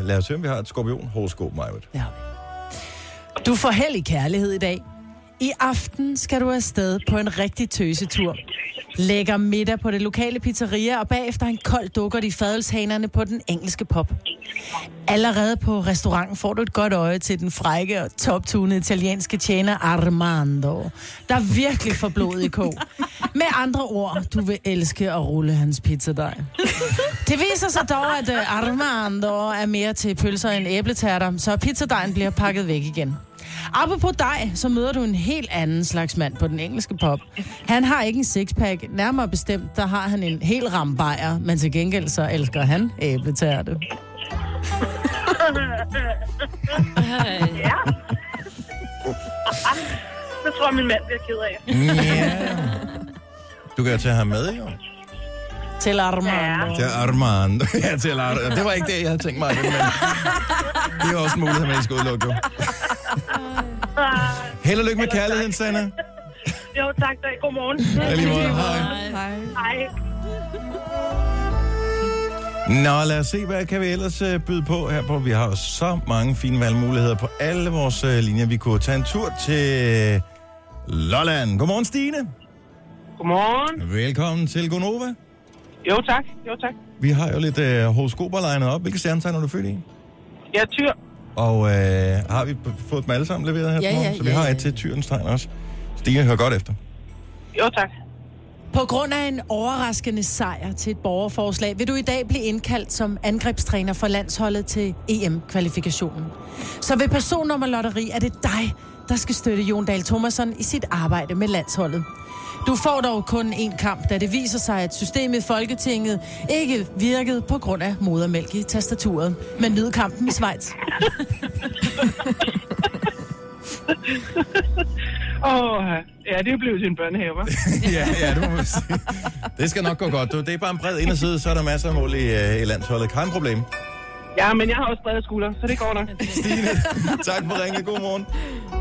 A: lad os høre, om vi har et skorpion-horoskop, Majbet.
D: Ja. Du får held i kærlighed i dag. I aften skal du afsted på en rigtig tøsetur. Lægger middag på det lokale pizzeria, og bagefter en kold dukker i fadelshanerne på den engelske pop. Allerede på restauranten får du et godt øje til den frække og toptunede italienske tjener Armando, der virkelig får blod i kog. Med andre ord, du vil elske at rulle hans pizzadej. Det viser sig dog, at øh, Armando er mere til pølser end æbletærter, så pizzadejen bliver pakket væk igen. Apropos dig, så møder du en helt anden slags mand på den engelske pop. Han har ikke en sixpack. Nærmere bestemt, der har han en hel rambajer, men til gengæld så elsker han æbletærte.
I: Ja. det tror jeg, min mand bliver ked af.
A: Ja. Du kan jo tage ham med, jo.
D: Til Armando.
A: Til Armand. ja, til Armand. Det var ikke det, jeg havde tænkt mig. Men det er også en mulighed, man ikke skal udelukke. jo. Held og lykke med kærligheden, Sanna.
I: Jo, tak. Da. Godmorgen.
A: Ja, lige måde. Hej.
B: Hej.
I: Hej.
A: Nå, lad os se, hvad kan vi ellers øh, byde på her på. Vi har jo så mange fine valgmuligheder på alle vores øh, linjer. Vi kunne tage en tur til Lolland. Godmorgen, Stine.
I: Godmorgen.
A: Velkommen til Gonova.
I: Jo, tak. Jo, tak.
A: Vi har jo lidt øh, horoskoper legnet op. Hvilke stjernetegn er du født i?
I: Jeg er tyr.
A: Og øh, har vi p- fået dem alle sammen leveret her?
B: Ja,
A: til morgen?
B: ja,
A: Så vi
B: ja,
A: har
B: ja.
A: et til tyrens tegn også. Stine, hør godt efter.
I: Jo, tak.
D: På grund af en overraskende sejr til et borgerforslag, vil du i dag blive indkaldt som angrebstræner for landsholdet til EM-kvalifikationen. Så ved personnummer lotteri er det dig, der skal støtte Jon Dahl Thomasson i sit arbejde med landsholdet. Du får dog kun én kamp, da det viser sig, at systemet i Folketinget ikke virkede på grund af modermælk i tastaturet. Men nyd kampen i Schweiz.
I: Åh, ja, det blev til en børnehave, hva'?
A: ja, ja, det må man sige. Det skal nok gå godt. Du. Det er bare en bred inderside, så er der masser af mål i, øh, i landsholdet. Kan problem.
I: Ja, men jeg har også brede skuldre, så det går nok.
A: Stine, tak for ringet. God morgen.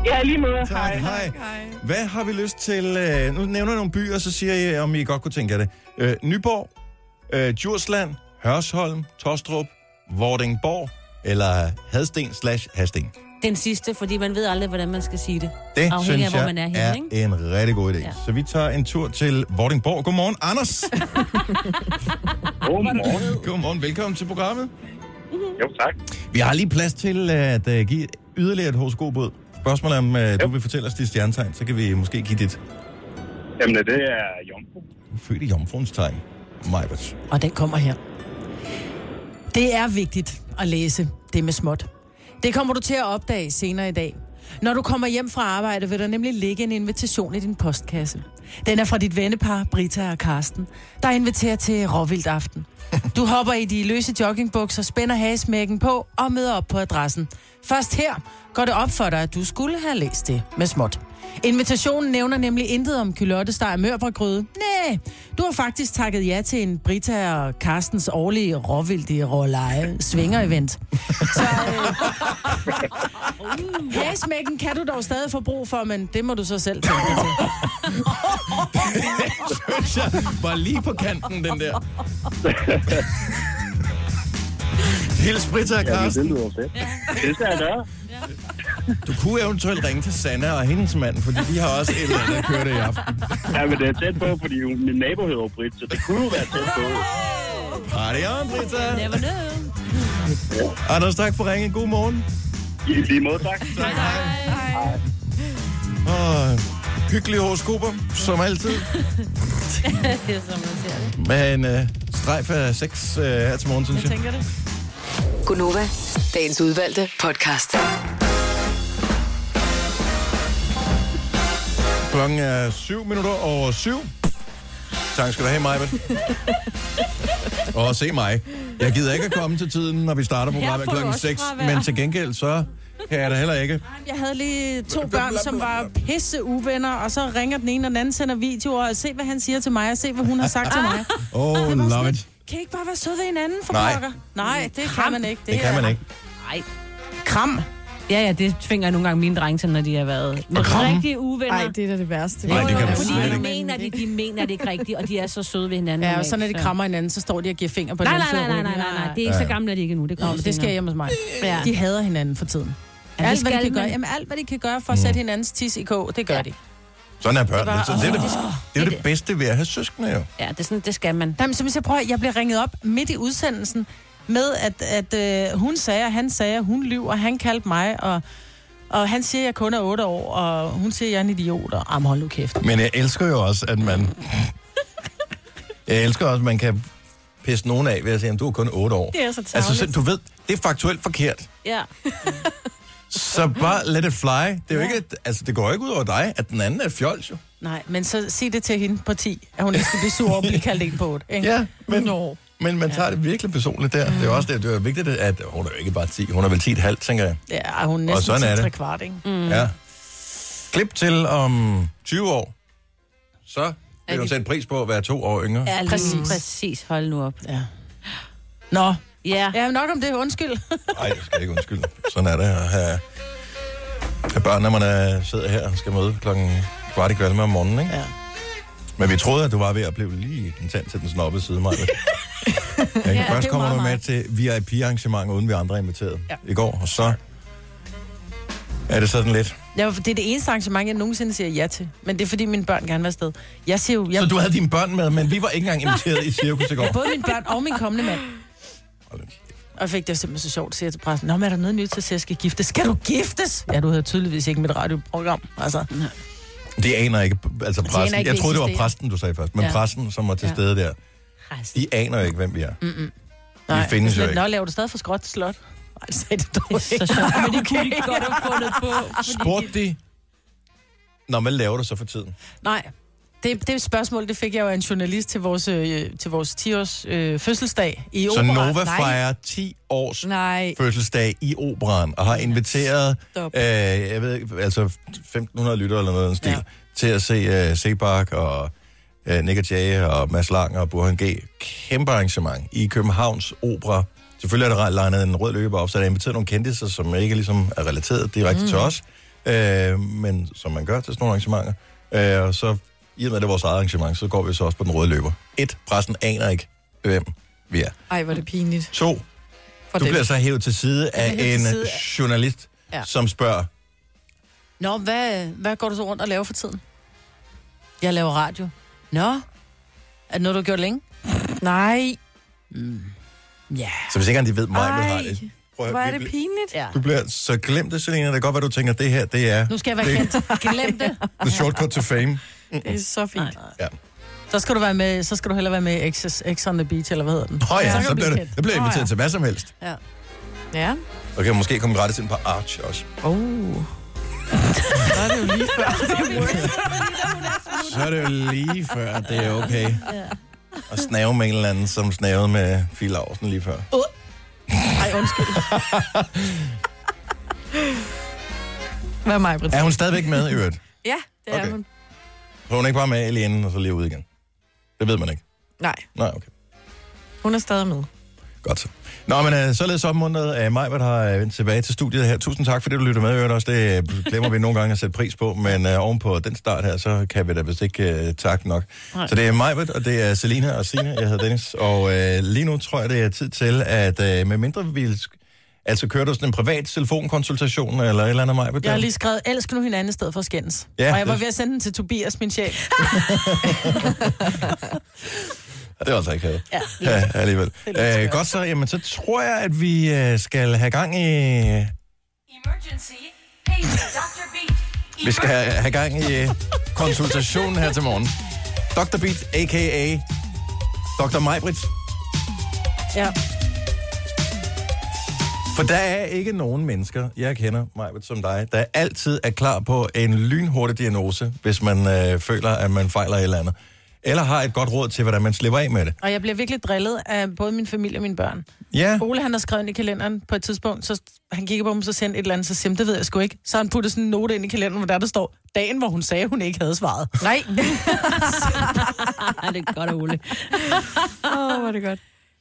I: Ja, lige måde.
A: Tak, hej. hej. Hvad har vi lyst til? øh, Nu nævner jeg nogle byer, så siger jeg, om I godt kunne tænke jer det. Øh, Nyborg, øh, Djursland, Hørsholm, Tostrup, Vordingborg eller Hadsten slash Hadsten.
C: Den sidste, fordi man ved aldrig, hvordan man skal sige det.
A: Det
C: Afhængig
A: synes
C: af, hvor
A: jeg
C: man er henne,
A: er
C: ikke?
A: en rigtig god idé. Ja.
C: Ja.
A: Så vi tager en tur til Vordingborg. Godmorgen, Anders.
J: Godmorgen.
A: Godmorgen, velkommen til programmet.
J: Jo, tak.
A: Vi har lige plads til at uh, give yderligere et horoskopbud. Spørgsmålet er, om uh, du vil fortælle os dit stjernetegn, så kan vi måske give dit
J: Jamen, det er Jomfru.
A: fødte jomfruens tegn. Majbert.
D: Og den kommer her. Det er vigtigt at læse det med småt. Det kommer du til at opdage senere i dag. Når du kommer hjem fra arbejde, vil der nemlig ligge en invitation i din postkasse. Den er fra dit vennepar, Brita og Karsten, der inviterer til råvildt aften. Du hopper i de løse joggingbukser, spænder hagesmækken på og møder op på adressen. Først her går det op for dig, at du skulle have læst det med småt. Invitationen nævner nemlig intet om kylottesteg og mørbrødgryde. Nej, du har faktisk takket ja til en Brita og Carstens årlige råvildige råleje svinger-event. Så øh, hagesmækken kan du dog stadig få brug for, men det må du så selv tænke dig til.
A: Synes jeg var lige på kanten, den der. Hils Britta og
J: Jamen, det
A: Carsten.
J: lyder fedt. Det skal jeg gøre.
A: Du kunne eventuelt ringe til Sanna og hendes mand, fordi de har også et eller andet kørt i aften.
J: Ja, men det er tæt på, fordi hun- min nabo hedder Britt, så det kunne jo være tæt på.
A: Party on, Britta.
C: Never know.
A: Anders, tak for ringen. God morgen.
J: I lige måde, tak. tak.
A: Og hyggelige horoskoper, som altid.
C: Det er, som man ser det.
A: Men øh, strejf af 6 øh, her til morgen, synes jeg.
D: Tænker det?
F: Gunova, dagens udvalgte podcast.
A: Klokken er 7 minutter over 7. Tak skal du have, Maja. Og se mig. Jeg gider ikke at komme til tiden, når vi starter programmet
C: får du
A: klokken
C: også
A: 6,
C: fravær.
A: men til gengæld så kan jeg da heller ikke.
D: Jeg havde lige to børn, som var pisse uvenner, og så ringer den ene, og den anden sender videoer, og se, hvad han siger til mig, og se, hvad hun har sagt til mig.
A: Oh,
D: var
A: love
D: sådan
A: it.
D: Kan I ikke bare være søde ved hinanden, for
A: Nej.
D: pokker? Nej, det kan man ikke.
A: Det kan man ikke.
C: Nej.
D: ikke. Kram.
C: Ja, ja, det tvinger jeg nogle gange mine drenge til, når de har været
A: kramme.
C: rigtige uvenner.
B: Nej, det er da det værste.
A: Nej, det kan du
C: fordi
A: slet
C: de
A: ikke.
C: mener det, de mener det ikke rigtigt, og de er så søde ved hinanden.
D: Ja, og
C: normalt,
D: så når de krammer hinanden, så står de og giver finger på
C: Nej,
D: den
C: nej, nej, nej, nej, nej, nej. Det er ikke så gamle, at de ikke nu. Det
D: Nå,
C: kommer
D: men det sker hjemme hos mig.
C: Ja.
D: De hader hinanden for tiden.
C: Ja,
D: Alt,
C: skal
D: hvad de kan Mm.
C: man.
D: gøre, jamen, alt, hvad de kan gøre for at sætte hinandens tis i kog, det gør de.
A: Sådan er børn.
D: Det er
A: Det,
D: bare-
A: det, er det, det er
C: det er
A: det bedste ved at have søskende, jo.
C: Ja, det, er sådan, det skal man.
D: Jamen, som jeg prøver, jeg bliver ringet op midt i udsendelsen med, at, at øh, hun sagde, og han sagde, og hun lyver, og han kaldte mig, og, og han siger, at jeg kun er 8 år, og hun siger, at jeg er en idiot, og jamen, hold nu kæft.
A: Men jeg elsker jo også, at man... Jeg elsker også, at man kan pisse nogen af ved at sige, at du er kun 8 år.
D: Det er så tarveligt.
A: Altså, så, du ved, det er faktuelt forkert.
C: Ja.
A: Så bare let it fly. Det, er jo ikke, et- altså, det går jo ikke ud over dig, at den anden er et fjols, jo.
D: Nej, men så sig det til hende på 10, at hun ikke skal blive sur over at blive kaldt en på 8. Ikke?
A: Ja, men,
D: Nå.
A: men man tager det virkelig personligt der. Det er jo også det, det er vigtigt, at hun er jo ikke bare 10, hun er vel 10,5, tænker jeg.
D: Ja, ej, hun er
A: Og
D: næsten
A: sådan er
D: til
A: det.
D: tre kvart, ikke? Mm.
A: Mm. Ja. Klip til om 20 år, så vil hun sætte pris på at være to år yngre.
C: ja præcis.
D: Præcis.
C: Præcis. Hold nu op.
D: Nå,
C: Ja.
D: ja, nok om det, undskyld.
A: Nej, det skal jeg ikke undskylde. Sådan er det at have, have børn, når man er, sidder her og skal møde klokken kvart i kvalme om morgenen, ikke?
D: Ja.
A: Men vi troede, at du var ved at blive lige en tand til den snobbede side, mig. ja,
D: det er
A: først
D: jo
A: kommer
D: meget,
A: du med
D: meget.
A: til VIP-arrangement, uden vi andre er inviteret ja. i går, og så er det sådan lidt.
D: Ja, for det er det eneste arrangement, jeg nogensinde siger ja til. Men det er, fordi mine børn gerne vil afsted. Jeg siger jo, jeg,
A: Så du havde dine børn med, men vi var ikke engang inviteret i cirkus i går.
D: både mine børn og min kommende mand.
A: Hold nu kæft.
D: Og fik det simpelthen så sjovt, siger jeg til pressen. Nå, men er der noget nyt til, at jeg skal giftes? Skal du giftes? Ja, du havde tydeligvis ikke mit radioprogram. Altså,
A: De aner ikke, altså
K: aner
A: præsten.
K: ikke,
A: jeg
K: vi
A: troede, det var
K: eksisterer.
A: præsten, du sagde først. Men
K: Ja.
A: ja. præsten, som var til
K: Ja.
A: stede der, de aner jo ikke, hvem vi er.
D: Mm-mm.
A: De findes jo
D: Men, Nå,
A: ikke.
D: laver du stadig for skråt slot? Nej, det sagde du dog ikke.
C: så sjovt, men
D: det kunne
C: de godt have fundet på.
A: Spurgte de, Nå, hvad laver du så for tiden?
D: Nej, det, det spørgsmål, det fik jeg jo af en journalist til vores, øh, til vores 10-års øh, fødselsdag i
A: Så
D: opera.
A: Nova fejrer 10 års
B: Nej.
A: fødselsdag i operan, og har inviteret, øh,
B: Stop.
A: jeg ved ikke, altså 1.500 lyttere eller noget af den stil, ja. til at se øh, Sebak og øh, Nick og Jay og Mads Lang og Burhan G. Kæmpe arrangement i Københavns Opera. Selvfølgelig er der legnet en rød løber op, så der er inviteret nogle kendtiser, som ikke ligesom er relateret direkte mm.
K: Mm.
A: til os, øh, men som man gør til sådan nogle arrangementer. Øh, og så, i og med at det er vores eget arrangement, så går vi så også på den røde løber. Et, pressen aner ikke, hvem vi er.
B: Ej, hvor er det pinligt.
A: To,
B: For
A: du
B: dem.
A: bliver så hævet til side af
D: bliver hævet
A: en
D: til side af-
A: journalist,
D: Ja.
A: som spørger,
D: Nå, hvad, hvad går du så rundt og laver for tiden? Jeg laver radio. Nå, er det noget, du har gjort længe?
B: Nej.
D: Ja.
A: så hvis ikke engang de ved mig, hvad har
B: Ej,
A: det. Prøv at
B: Hvor
A: høre,
B: er
A: vi
B: det
A: bl-
B: pinligt. Ja.
A: Du bliver så glemt det, Selina. Det er godt, hvad du tænker, det her, det er
D: Nu skal jeg være
A: det,
D: kendt. Glem det.
A: the shortcut to fame.
B: Det er så fint.
A: Ja.
D: Så skal du, være med, så skal du hellere være med i X, X on the Beach, eller hvad hedder den?
A: Nå ja,
D: kan
A: så
D: du
A: bliver,
D: blive
A: det,
D: kendt.
A: det bliver jeg
D: Nå
A: inviteret til hvad som helst.
D: Ja.
B: Ja.
A: Og kan måske komme gratis ind på Arch også.
B: Oh.
A: så er det jo lige før. så er det jo lige før, at det er okay. Og snave med en eller anden, som snavede med Fie Larsen lige før.
D: Uh. Ej, undskyld.
B: Hvad er mig, Britt?
A: Er hun stadigvæk med i øvrigt?
B: Ja, det er
A: Okay.
B: hun.
A: Så hun er ikke bare med lige inden, og så lige ud igen. Det ved man ikke.
B: Nej,
A: Nej, okay.
B: hun er stadig med.
A: Godt så. Nå, men øh, således opmuntret af mig, hvad der har øh, vendt tilbage til studiet her. Tusind tak, fordi du lytter med, i øvrigt også. Det øh, glemmer vi nogle gange at sætte pris på, men øh, ovenpå den start her, så kan vi da vist ikke øh, takke nok.
K: Nej.
A: Nej. Så det er mig, og det er Selina og Sina. Jeg hedder Dennis, og øh, lige nu tror jeg, det er tid til, at øh, med mindre vi vil... Altså, kører du sådan en privat telefonkonsultation eller et eller andet, Maja?
D: Jeg har lige skrevet, elsk nu hinanden i stedet for at skændes.
A: Ja,
D: og jeg var
A: det-
D: ved at sende den til Tobias, min chef.
A: Ja, det var altså ikke havde.
D: Ja.
A: ja alligevel. Øh, godt så, jamen så tror jeg, at vi øh, skal have gang i... Vi skal have, have gang i øh, konsultationen her til morgen. Dr. Beat, a.k.a. Dr. Majbrit.
D: Ja.
A: For der er ikke nogen mennesker, jeg kender, Majbrit, som dig, der altid er klar på en lynhurtig diagnose, hvis man øh, føler, at man fejler et eller andet. Eller har et godt råd til, hvordan man slipper af med det.
D: Og jeg bliver virkelig drillet af både min familie og mine børn.
A: Ja.
D: Ole, han har skrevet ind i kalenderen på et tidspunkt, så han kiggede på mig, så sendte et eller andet, så siger han, det ved jeg sgu ikke. Så har han puttet sådan en note ind i kalenderen, hvor der, der står, dagen, hvor hun sagde, hun ikke havde svaret.
B: Nej.
C: Ej, det er godt, Ole.
B: Åh, oh, hvor er det godt.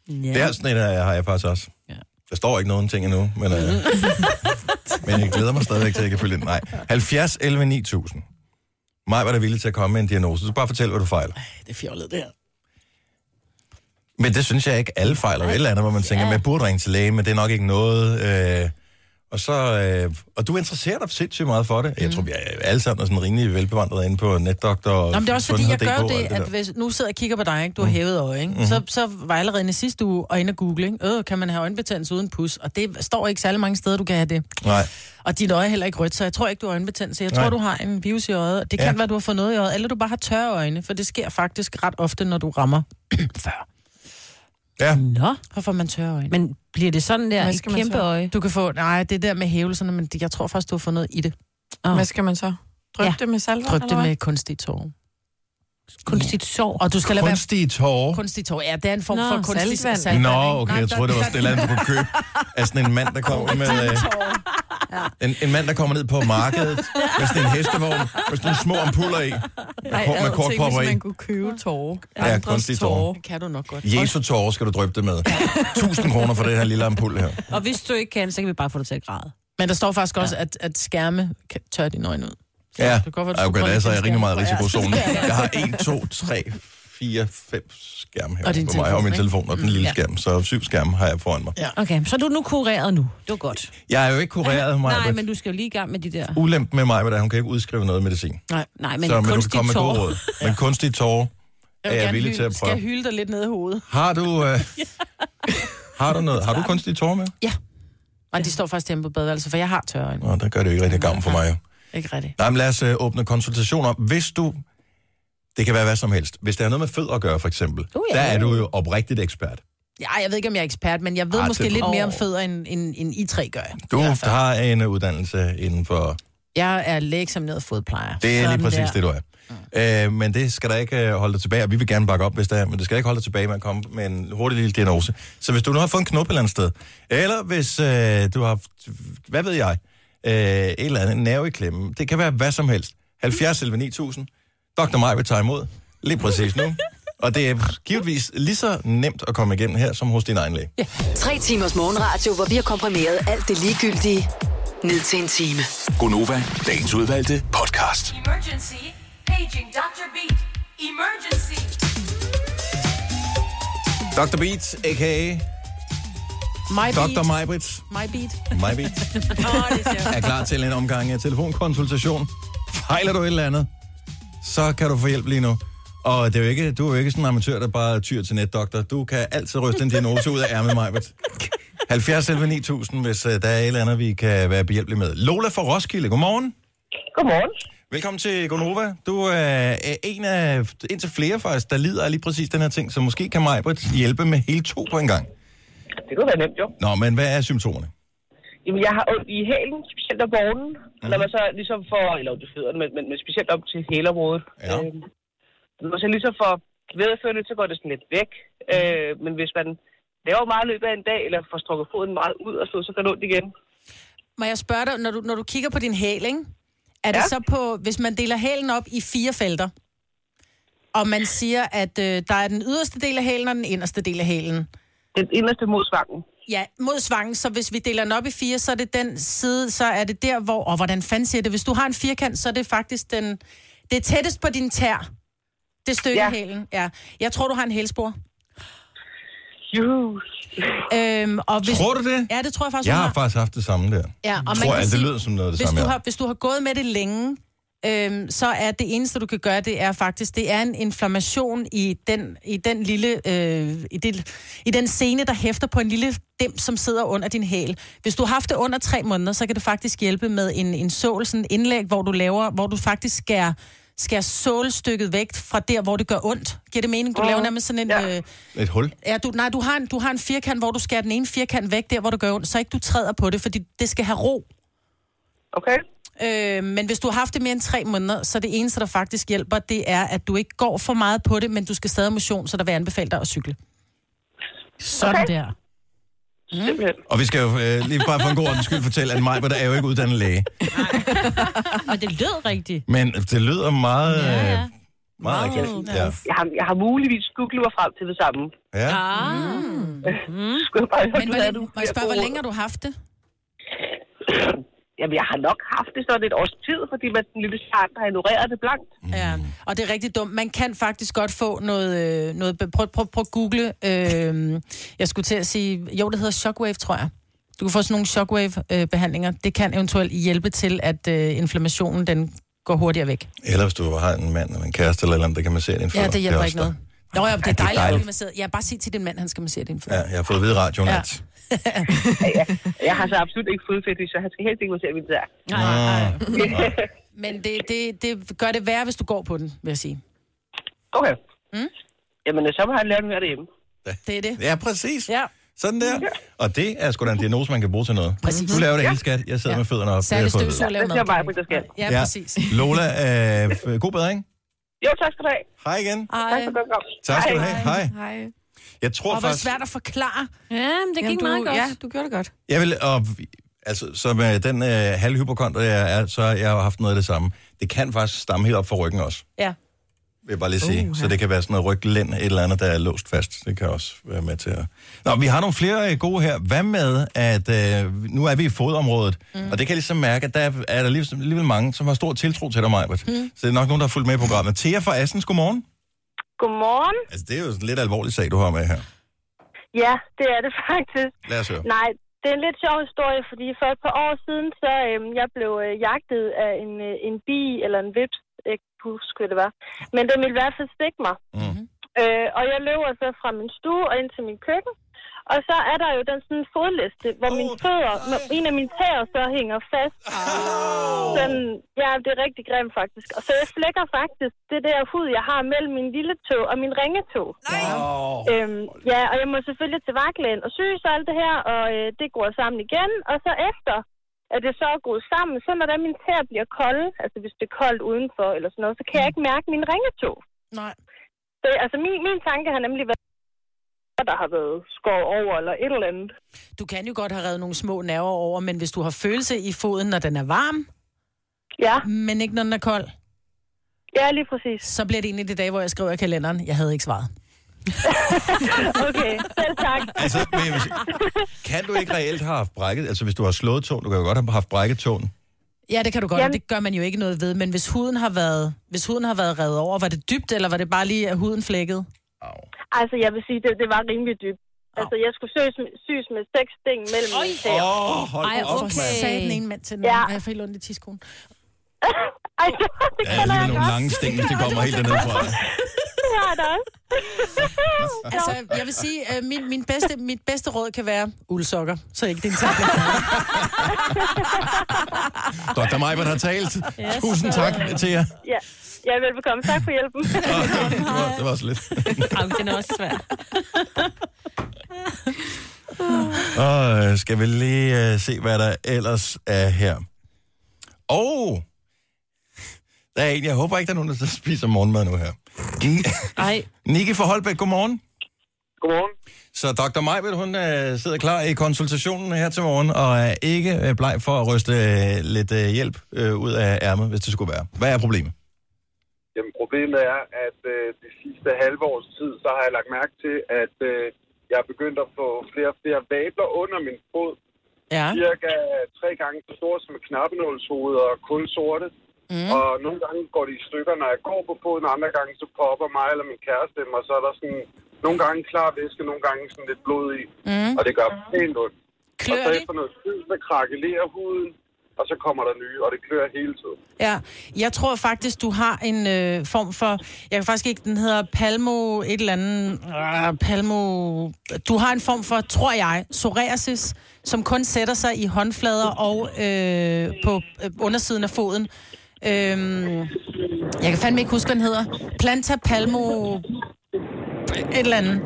A: Ja. Det er sådan et, øh, har jeg faktisk også. Ja. Der står ikke nogen ting endnu, men, øh, men jeg glæder mig stadigvæk til, at jeg kan følge ind. Nej. 70 11 9000. Mig var der villig til at komme med en diagnose. Så bare fortæl, hvad du fejler.
D: Det er fjollet, det her.
A: Men det synes jeg ikke, alle fejler jo et eller andet, hvor man tænker, man burde ringe til læge, men det er nok ikke noget. Øh, og, så, øh, og du interesserer dig sindssygt meget for det. Jeg tror, vi er alle sammen er sådan rimelig velbevandrede inde på netdoktor og
D: Mm. Nå, men det er også fordi, jeg
A: sundhed.dk
D: gør
A: og alt
D: det, at
A: der.
D: hvis, nu sidder jeg og kigger på dig, ikke? du har hævet øje, ikke?
A: Mhm.
D: Så, så var jeg allerede inde i sidste uge og inde og google, ikke? Øh, kan man have øjenbetændelse uden pus? Og det står ikke særlig mange steder, du kan have det.
A: Nej.
D: Og dit øje er heller ikke rødt, så jeg tror ikke, du har øjenbetændelse. Jeg
A: Nej.
D: tror, du har en virus i øjet. og Det kan
A: Ja.
D: ja. være, du har fået noget i øjet, eller du bare har tørre øjne, for det sker faktisk ret ofte, når du rammer før.
A: Ja.
C: Nå.
D: Hvorfor man tørre øjne?
C: Men bliver det sådan der,
D: Hvad
C: et
D: skal man
C: kæmpe
D: så?
C: øje?
D: Du kan få, nej, det der med hævelserne, men det- jeg tror faktisk, du har fået noget i det.
C: Åh.
B: Hvad skal man så? Dryp
D: Ja.
B: det med salvand,
D: Dryp
B: eller
D: det
B: hvad?
D: med kunstig tårer.
C: Kunstigt sår.
D: Og du skal lade være
A: Kunstige tårer.
D: kunstig tårer. Ja, det er en form
B: Nå,
D: Nå, for kunstig
B: saltvand.
D: saltvand.
A: Nå,
D: ikke?
A: okay,
D: Nej,
A: jeg
D: der-
A: troede, det var
D: der-
A: et eller andet, du kunne købe af sådan en mand, der kommer med... Øh, en, en mand, der kommer ned på markedet med sådan en hestevogn, med sådan nogle små ampuller i,
B: Nej,
A: Kort- med
B: jeg havde tænkt,
A: korkpropper
B: hvis
A: i.
B: man kunne købe tårer.
A: Ja,
B: Andres
A: kunstige tårer.
D: Kan du nok godt.
A: Jesu tårer skal du dryppe det med. 1000 kroner for den her lille ampul her.
C: Og hvis du ikke kan, så kan vi bare få dig til at græde.
D: Men der står faktisk også, at, at skærme kan tørre dine øjne ud.
A: Ja,
D: Det kan godt være, du skulle
A: okay,
D: prøve
A: der er
D: at
A: så
D: lægge
A: jeg rimelig meget i
D: skærmen på.
A: risikozonen.
D: Ja.
A: Jeg har 1, 2, 3, 4, 5 skærme her
C: Og din
A: på mig, og
C: telefon,
A: min
C: ikke?
A: telefon og den
C: Mm,
A: lille
C: ja.
A: skærm. Så syv skærme har jeg foran mig.
D: Ja.
C: Okay, så er du nu kureret nu. Det var godt.
A: Jeg er jo ikke kureret, Maja.
C: Nej, men du skal jo lige i gang med de der...
A: Ulempen med mig, at hun kan ikke udskrive noget medicin.
C: Nej, nej men,
A: så, men du kan
C: kunstige
A: komme med
C: tårer.
A: gode råd. Men kunstige tårer er jeg
D: gerne
A: villig til
D: hylde-
A: at prøve.
D: Skal jeg hylde dig lidt ned i hovedet?
A: Har du, øh, har du noget? Har du kunstige tårer med?
D: Og de står faktisk hjemme på badeværelset, altså, for jeg har tørre øjne.
A: Nå, der gør det jo ikke rigtig gavn for mig. jo.
D: Ikke rigtigt.
A: Nej, men lad os øh, åbne konsultationer. Hvis du, det kan være hvad som helst, hvis der er noget med fødder at gøre, for eksempel, uh,
D: ja.
A: der er du jo oprigtigt ekspert.
D: Ja, jeg ved ikke, om jeg er ekspert, men jeg ved
A: Ah,
D: Ej, måske
A: det-
D: lidt mere om
A: Åh.
D: fødder, end, end, end I tre gør.
A: Du ja, har en øh, uddannelse inden for...
D: Jeg er lægeeksamineret fodplejer.
A: Det er lige
D: Sådan
A: præcis
D: der.
A: det, du er. Øh, men det skal der ikke øh, holde dig tilbage, og vi vil gerne bakke op, hvis det er, men det skal ikke holde dig tilbage med at komme med en hurtig lille diagnose. Så hvis du nu har fået en knop et eller andet sted, eller hvis øh, du har, haft, hvad ved jeg, øh, et eller andet, en nerve i klemmen, det kan være hvad som helst. 70 11 9000. Dr. Maj vil tage imod lige præcis nu. og det er givetvis lige så nemt at komme igennem her, som hos din egen læge.
F: Tre timers morgenradio, hvor vi har komprimeret alt det ligegyldige ned til en time.
G: Gonova, dagens udvalgte podcast.
K: Emergency. Paging Dr. Beat. Emergency.
A: Dr. Beats, a.k.a.
D: My
A: Dr. Majbrits.
D: My beat.
A: Majbit er klar til en omgang af telefonkonsultation. Fejler du et eller andet, så kan du få hjælp lige nu. Og det er jo ikke, du er jo ikke sådan en amatør, der bare tyr til netdoktor. Du kan altid ryste en diagnose ud af ærmet, Majbet. 70 11 9000, hvis øh, der er et eller andet, vi kan være behjælpelige med. Lola fra Roskilde, godmorgen.
L: Godmorgen.
A: Velkommen til Gonova. Du er øh, en af, en til flere faktisk, der lider af lige præcis den her ting, så måske kan Majbet hjælpe med hele to på en gang.
L: Det kunne være nemt, jo.
A: Nå, men hvad er symptomerne?
L: Jamen, jeg har ondt i hælen, specielt om morgenen. Mm. Når man så ligesom får, eller det fødderne, men, men, men specielt op til hælområdet. Ja. Øhm, når man så ligesom får vedført det, så går det sådan lidt væk. Øh, men hvis man laver meget i løbet af en dag, eller får strukket foden meget ud og så, så går det ondt igen.
D: Må jeg spørge dig, når du, når du kigger på din hæl, ikke? er det ja. så på, hvis man deler hælen op i fire felter, og man siger, at øh, der er den yderste del af hælen og den inderste del af hælen.
L: Den inderste mod svangen.
D: Ja, mod svangen, så hvis vi deler den op i fire, så er det den side, så er det der, hvor, og hvordan fanden siger jeg det, hvis du har en firkant, så er det faktisk den, det er tættest på din tær, det stykke
L: Ja.
D: ja. hælen. Ja. Jeg tror, du har en hælspor.
L: Juhu.
D: Øhm, og hvis,
A: Tror du det?
D: Ja, det tror jeg faktisk,
A: Jeg
D: du
A: har faktisk haft det samme der.
D: Ja, og man
A: tror,
D: kan
A: at det
D: sige,
A: lyder som noget af det
D: hvis
A: samme.
D: du
A: ja.
D: har, hvis du har gået med det længe, øhm, så er det eneste, du kan gøre, det er faktisk, det er en inflammation i den, i den lille, øh, i, det, i den scene, der hæfter på en lille dem, som sidder under din hæl. Hvis du har haft det under tre måneder, så kan det faktisk hjælpe med en, en sål, sådan en indlæg, hvor du laver, hvor du faktisk skærer skærer sålstykket væk fra der, hvor det gør ondt. Giver det mening? Du laver nærmest sådan en... Ja. Øh,
A: Et hul?
D: Ja, du, nej, du har, en, du har en firkant, hvor du skærer den ene firkant væk, der hvor du gør ondt, så ikke du træder på det, fordi det skal have ro.
L: Okay.
D: Øh, men hvis du har haft det mere end tre måneder, så det eneste, der faktisk hjælper, det er, at du ikke går for meget på det, men du skal stadig have motion, så der vil jeg anbefale dig at cykle. Sådan okay. der.
L: Mm.
A: Og vi skal jo øh, lige bare for en god ordens skyld fortælle, at Majbert er jo ikke uddannet læge.
C: Og det lød rigtigt.
A: Men det lyder meget... Øh,
C: Ja,
A: meget,
C: ja.
A: meget rigtigt. Ja.
L: Jeg, har, jeg har muligvis googlet mig frem til det samme.
A: Ja.
L: Mm. Skulle jeg bare
D: Men hvor, længe- må jeg spørge, hvor længe har du haft det?
L: Jamen, jeg har nok haft det sådan et års tid, fordi man sådan lidt starten har ignoreret det blankt.
D: Ja, og det er rigtig dumt. Man kan faktisk godt få noget... øh, noget prøv, prøv, prøv at google. Øh, jeg skulle til at sige... Jo, det hedder shockwave, tror jeg. Du kan få sådan nogle shockwave-behandlinger. Det kan eventuelt hjælpe til, at øh, inflammationen den går hurtigere væk.
A: Eller hvis du har en mand eller en kæreste eller et eller andet, der kan massere din fødder.
D: Ja, det hjælper
A: er
D: ikke
A: også
D: noget. Nå, ja, det
A: Ja,
D: er
A: det er
D: dejligt, at
A: dejligt.
D: du masseret. Ja, bare sig til din mand, han skal massere din
A: der. Ja, jeg har fået at vide i radioen, ja. at...
L: Jeg har så absolut ikke fodfetish, så han skal helst ikke massere min tær.
D: Men det, det, det gør det værre, hvis du går på den, vil jeg sige.
L: Okay. Mm? Jamen, så må han lære den her derhjemme.
D: Det er det.
A: Ja, præcis.
D: Ja.
A: Sådan der. Og det er sgu da en diagnose, man kan bruge til noget.
D: Præcis.
A: Du laver det hele, skat. Jeg sidder ja. med fødderne op.
D: Særligt
A: det har jeg fået at
D: støvsug
A: vide.
D: laver noget.
L: Bare på det skal.
D: Ja, præcis.
A: Lola, øh, f- god bedring.
L: Jo, tak skal du have.
A: Hej igen.
D: Hej.
L: Tak for godt kom.
A: Tak skal du have. Hej.
B: Hej.
A: Jeg tror
B: Og hvor
A: faktisk...
B: svært
D: at forklare.
B: Ja, men
C: gik
B: du,
C: meget godt.
B: Ja, du gjorde det godt.
A: Jeg vil, og, altså, som øh, den øh, halvhypokonter, jeg er, så har jeg jo haft noget af det samme. Det kan faktisk stamme helt op fra ryggen også,
D: Ja.
A: vil jeg bare lige sige. Uh,
D: Uha.
A: Så det kan være sådan noget ryglænd, et eller andet, der er låst fast. Det kan også være med til at... Nå, vi har nogle flere øh, gode her. Hvad med, at øh, nu er vi i fodområdet, mm. og det kan jeg ligesom mærke, at der er, er der alligevel, alligevel mange, som har stor tiltro til dig, Majbert. Mm. Så det er nok nogen, der har fulgt med i programmet. Thea fra Assens, godmorgen.
M: Godmorgen.
A: Altså, det er jo sådan en lidt alvorlig sag, du har med her.
M: Ja, det er det faktisk.
A: Lad os høre.
M: Nej, det er en lidt sjov historie, fordi for et par år siden, så øhm, jeg blev øh, jagtet af en, øh, en bi eller en vips. Jeg kan ikke huske, hvad det var. Men den ville i hvert fald stikke mig.
A: Mm.
M: Øh, og jeg løber så fra min stue og ind til min køkken. Og så er der jo den sådan fodliste, hvor oh, mine fødder, en af mine tæer så hænger fast. Oh. Sådan, ja, det er rigtig grimt faktisk. Og så jeg flækker faktisk det der hud, jeg har mellem min lille tog og min ringetog. Nej. Øhm, ja, og jeg må selvfølgelig til vagtlægen og syge så alt det her, og øh, det går sammen igen. Og så efter, at det så er gået sammen, så når der mine tæer bliver kolde, altså hvis det er koldt udenfor eller sådan noget, så kan jeg ikke mærke min ringetog.
D: Nej.
M: Så altså min, min tanke har nemlig været, at der har været skåret over eller et eller andet.
D: Du kan jo godt have reddet nogle små nerver over, men hvis du har følelse i foden, når den er varm,
M: ja.
D: men ikke når den er kold,
M: ja, lige præcis.
D: så bliver det en af de dage, hvor jeg skriver i kalenderen, jeg havde ikke svaret.
M: okay, selv tak.
A: Altså, men jeg vil sige, kan du ikke reelt have haft brækket? Altså, hvis du har slået tåen, du kan jo godt have haft brækket tåen.
D: Ja, det kan du godt, Jamen. det gør man jo ikke noget ved, men hvis huden har været, hvis huden har været reddet over, var det dybt, eller var det bare lige, at huden flækkede?
M: Altså, jeg vil sige, det, det var rimelig dybt. Altså, jeg skulle syes, syes med seks sting mellem mine tæer.
A: Åh, hold
D: Ej,
A: op,
D: hvorfor
A: mand.
D: sagde den ene mand til den anden? Ja. Jeg får helt ondt i tidskolen.
M: Ej, det, det
A: Der er alligevel
M: kender jeg
A: nogle
M: godt.
A: lange sting, hvis det kommer helt dernede fra.
M: Det har jeg da også.
D: Altså, jeg vil sige, øh, min, min bedste, mit bedste råd kan være uldsokker, så ikke din tablet.
A: Dr. Majbert har talt.
M: Yes.
A: Tusind tak til jer.
M: Ja, ja velbekomme. Tak for hjælpen.
A: Det var, det var så lidt.
C: Jamen, den er også svær.
A: Og øh, skal vi lige øh, se, hvad der ellers er her. Og der er en, jeg håber ikke, der er nogen, der sidder og spiser morgenmad nu her.
C: Nej.
A: Nikke fra Holbæk, godmorgen. Godmorgen. Så Dr. Majbet, hun øh, sidder klar i konsultationen her til morgen, og er ikke øh, bleg for at ryste øh, lidt øh, hjælp øh, ud af ærmet, hvis det skulle være. Hvad er problemet?
N: Jamen, problemet er, at øh, de sidste halve års tid, så har jeg lagt mærke til, at øh, jeg er begyndt at få flere og flere vabler under min fod.
D: Ja.
N: Cirka tre gange så store som et knappenålshoved og kun sorte. Mm. Og nogle gange går de i stykker, når jeg går på foden, og andre gange så popper mig eller min kæreste dem, og så er der sådan nogle gange klar væske, nogle gange sådan lidt blod i.
D: Mm.
N: Og det gør pænt ondt.
D: Klør
N: og så
D: det?
N: efter noget tid, så krakelerer huden, og så kommer der nye, og det klør hele tiden.
D: Ja, jeg tror faktisk, du har en øh, form for... Jeg kan faktisk ikke... Den hedder palmo... Et eller andet... Øh, palmo... Du har en form for, tror jeg, psoriasis, som kun sætter sig i håndflader og øh, på øh, undersiden af foden. Øhm, jeg kan fandme ikke huske, hvad den hedder. Planta palmo... Et eller andet.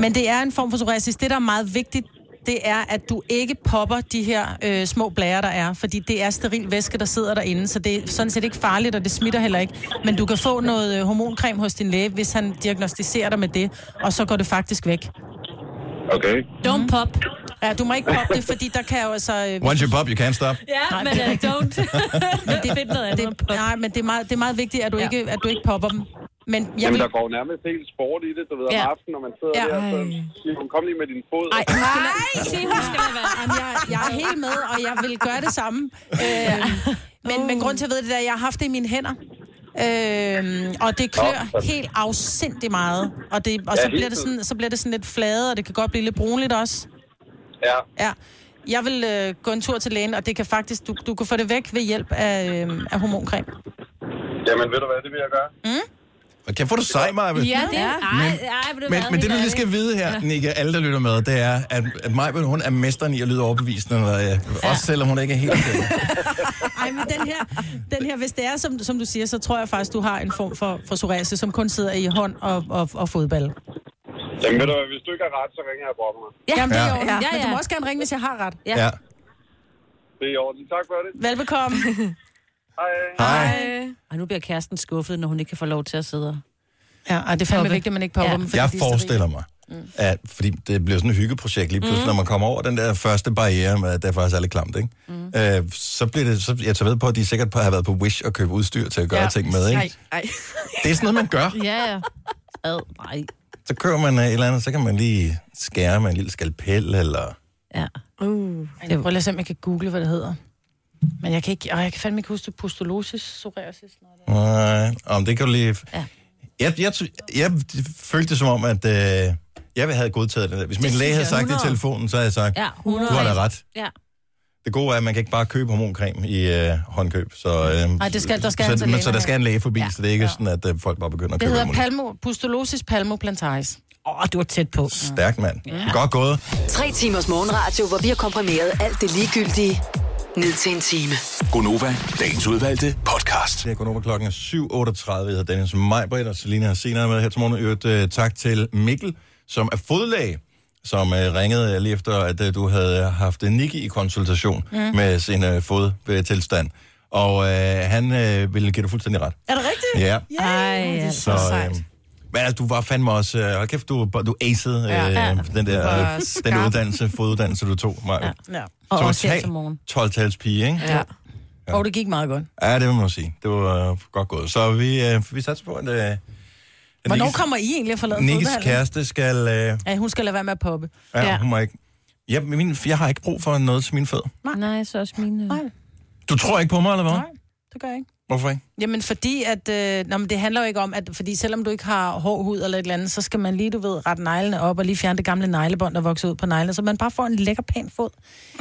D: Men det er en form for psoriasis. Det, der er meget vigtigt, det er, at du ikke popper de her øh, små blærer, der er. Fordi det er steril væske, der sidder derinde. Så det er sådan set ikke farligt, og det smitter heller ikke. Men du kan få noget øh, hormoncreme hos din læge, hvis han diagnostiserer dig med det. Og så går det faktisk væk. Mhm.
N: Okay.
C: Don't pop.
D: Ja, du må ikke poppe det, fordi der kan jo altså... Øh,
A: Once you pop, you can't stop.
C: Ja,
D: Nej,
C: men uh, don't.
D: men det, det, nej, men det er meget, det er meget vigtigt, at du, ja. ikke, at du ikke popper dem. Men jeg
N: Jamen,
D: vil...
N: der går jo nærmest helt sport i det, du ved, om
D: Ja.
N: aftenen, når man sidder
D: Ja.
N: ja. der, så siger hun, kom lige med din fod.
D: Ej, nej,
C: se,
D: hun skal være. Jamen, jeg, jeg er helt med, og jeg vil gøre det samme. Øh, men, men grund til, at jeg ved det, er, at jeg har haft det i mine hænder. Øh, og det klør helt afsindig meget. Og, det,
N: altså.
D: og
N: Ja,
D: så,
N: helt
D: bliver det
N: vildt.
D: sådan, så bliver det sådan lidt flade, og det kan godt blive lidt brunligt også.
N: Ja.
D: Ja. Jeg vil øh, gå en tur til lægen, og det kan faktisk, du, du kan få det væk ved hjælp af, øh, af hormoncreme.
N: Jamen, ved du hvad, det vil jeg gøre.
A: Og kan jeg få det sej, Majbet?
C: det
A: Men, men det, du lige skal vide her, Nikke, alle, der lytter med, det er, at, at Majbet, hun er mesteren i at lyde overbevisende, og, øh, også selvom hun ikke er helt sikker.
D: Ej, men den her, den her hvis det er, som, som du siger, så tror jeg faktisk, du har en form for, for psoriasis, som kun sidder i hånd og, og, og fodbold.
N: Jamen, ved du hvad, hvis du ikke har ret, så ringer jeg og brokker mig.
D: Ja, Jamen, det er
A: Ja.
D: i orden.
A: Ja,
D: Ja, ja. Men du
A: ja.
D: må også gerne ringe, hvis jeg har ret.
A: Ja. ja.
N: Det er i orden. Tak for det.
D: Velbekomme.
N: Hej.
C: Og nu bliver kæresten skuffet, når hun ikke kan få lov til at sidde.
D: Ja, og det er fandme vigtigt, at man ikke popper dem.
A: Jeg forestiller mig, at, fordi det bliver sådan et hyggeprojekt lige pludselig,
D: Mm.
A: når man kommer over den der første barriere med, at det er faktisk er lidt klamt, ikke? Mm. Øh, så bliver det, så, jeg tager ved på, at de sikkert har været på Wish og købe udstyr til at gøre ja. ting med, ikke?
B: Nej,
A: Det er sådan noget, man gør.
C: Ja, ja. Ad, nej.
A: Så kører man øh, et eller andet, så kan man lige skære med en lille skalpel, eller...
C: Ja.
B: Uh.
D: Jeg prøver lige at se, om jeg kan google, hvad det hedder. Men jeg kan, ikke, og jeg kan fandme ikke huske det. Pustulosis, psoriasis.
A: Nej, om det kan du lige...
C: Ja.
A: Jeg, jeg, jeg, jeg følte det som om, at øh, jeg havde godtaget det der. Hvis min
C: Det
A: læge
C: synes
A: havde sagt
C: jeg,
A: det i
C: 100.
A: telefonen, så havde jeg sagt,
C: Ja,
A: du
C: 100.
A: har da ret.
C: Ja.
A: Det gode er, at man kan ikke bare købe hormoncreme i øh, håndkøb. Så, øh,
D: Nej, det skal- der skal
A: så,
D: han
A: så,
D: til
A: men,
D: lægen
A: så der
D: her.
A: skal en læge forbi, ja.
D: Ja.
A: så det er ikke ja. sådan, at øh, folk bare begynder at
D: Det
A: købe
D: hedder
A: hormon.
D: palmo, pustulosis palmoplantaris.
C: Åh, oh, du var tæt på.
A: Stærkt, mand. Ja. Godt gået.
F: Tre timers morgenradio, hvor vi har komprimeret alt det ligegyldige ned til en time.
A: Gonova, dagens udvalgte podcast. Det er Gonova klokken er 7.38. Jeg hedder Dennis Majbredt, og Selina har senere med her til morgen. I Øvrigt, øh, tak til Mikkel, som er fodlæge, som øh, ringede øh, lige efter, at øh, du havde haft øh, Nicky i konsultation
O: Mm.
A: mm. med sin øh, fodtilstand. Og øh, han øh, ville give dig fuldstændig ret.
D: Er det rigtigt?
A: Ja.
C: Ej, det er så sejt.
A: men altså, du var fandme også... Øh, hold kæft, du, du acede øh,
C: Ja. Ja.
A: den
C: Du
A: der
C: var
A: øh, den
C: skarp.
A: uddannelse, foduddannelse, du tog, Maja. Ja.
D: Ja.
C: Og
A: Så
C: også her
A: tag-
C: til morgen.
A: 12-tals pige, ikke?
D: Ja. Og det gik meget godt.
A: Ja, det må man sige. Det var øh, godt gået. Så vi, øh, vi satser på, at, øh, at
D: Hvornår
A: Nikkes-
D: kommer I egentlig at forlade
A: Nikkes
D: fodbehandling?
A: kæreste skal... Øh,
D: Ja, hun skal lade være med at poppe.
A: ja, ja. Hun må ikke, jeg, min, jeg har ikke brug for noget til mine fødder.
D: Nej.
C: Nej, så også mine.
D: Nej,
A: Du tror ikke på mig, eller hvad?
D: Nej. det gør jeg ikke.
A: Hvorfor ikke?
D: Jamen fordi, at, øh, nå, men det handler jo ikke om, at fordi selvom du ikke har hård hud eller et eller andet, så skal man lige, du ved, rette neglene op og lige fjerne det gamle neglebånd, der vokser ud på neglene, så man bare får en lækker pæn fod.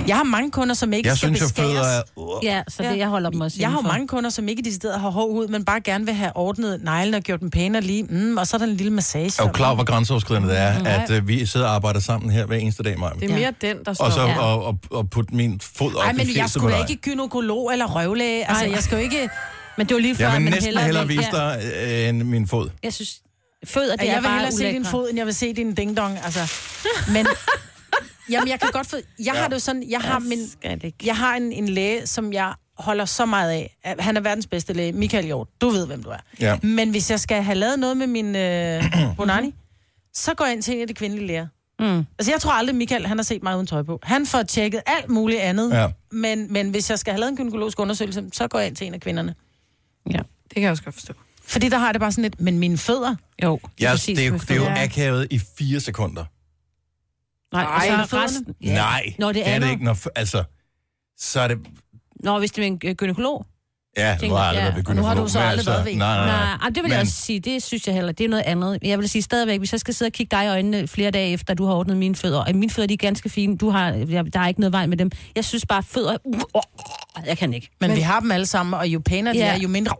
D: Jeg har mange kunder, som ikke
A: Jeg
D: skal
A: synes jo,
D: beskæres.
A: fødder er-
C: Ja, så det- jeg holder dem også
D: Jeg har jo
C: indenfor.
D: mange kunder, som ikke decideret har hård hud, men bare gerne vil have ordnet neglene og gjort dem pænere lige, mm, og så er der en lille massage.
A: Jeg er jo klar, over, hvor grænseoverskridende det er,
D: Nej.
A: at øh, vi sidder og arbejder sammen her hver eneste dag, Maja.
D: Mm. Det er mere Ja. den, der står-
A: Og så
D: Ja.
A: og, og, og putte min fod op
D: Ej,
A: i
D: men jeg
A: fjeset på
D: skulle da
A: dig.
D: ikke gynekolog eller røvlæge. Altså,
C: Ej.
D: jeg skal jo ikke... Men det var lige
A: Jeg vil næsten hellere vise dig øh, end min fod.
C: Jeg synes, fødder, det
D: jeg
C: er
D: vil
C: bare
D: hellere se din
C: ulækre.
D: fod, end jeg vil se din dingdong. Altså. Men, jamen, jeg kan godt for, jeg har det jo sådan, jeg har, min, jeg har en, en læge, som jeg holder så meget af. Han er verdens bedste læge, Michael Hjort. Du ved, hvem du er.
A: Ja.
D: Men hvis jeg skal have lavet noget med min øh, Bonani, så går jeg ind til en af de kvindelige læger.
C: Mm.
D: Altså, jeg tror aldrig, Michael han har set mig uden tøj på. Han får tjekket alt muligt andet.
A: Ja.
D: Men, men hvis jeg skal have lavet en gynækologisk undersøgelse, så går jeg ind til en af kvinderne.
C: Ja,
D: det kan jeg også godt forstå. Fordi der har jeg det bare sådan lidt, men mine fødder...
C: Jo,
A: Jeg, det, det, er jo- det er jo akavet i fire sekunder.
C: Nej,
D: Ej,
C: og så
D: med
C: er
D: fødderne?
C: resten...
A: Ja. Nej,
C: Nå, det er,
A: det
C: det
A: ikke. Når, f- altså, så er det...
C: Nå, hvis det er en øh, gynækolog.
A: Ja, nu
C: tænker
A: har jeg
C: jeg.
A: aldrig
C: Ja,
A: været ved
C: og nu har
A: gynækolog,
C: du så
A: men
C: aldrig
A: altså,
C: været ved en.
A: Nej, nej, nej.
C: Nej, det vil jeg
A: Men-
C: også sige. Det synes jeg heller. Det er noget andet. Jeg vil sige stadigvæk, hvis jeg skal sidde og kigge dig i øjnene flere dage efter, du har ordnet mine fødder, og mine fødder, de er ganske fine. Du har, jeg, der er ikke noget vej med dem. Jeg synes bare, fødder... Uh, uh, uh, jeg kan ikke.
D: Men, men vi har dem alle sammen, og jo pænere de
C: Ja.
D: er, jo mindre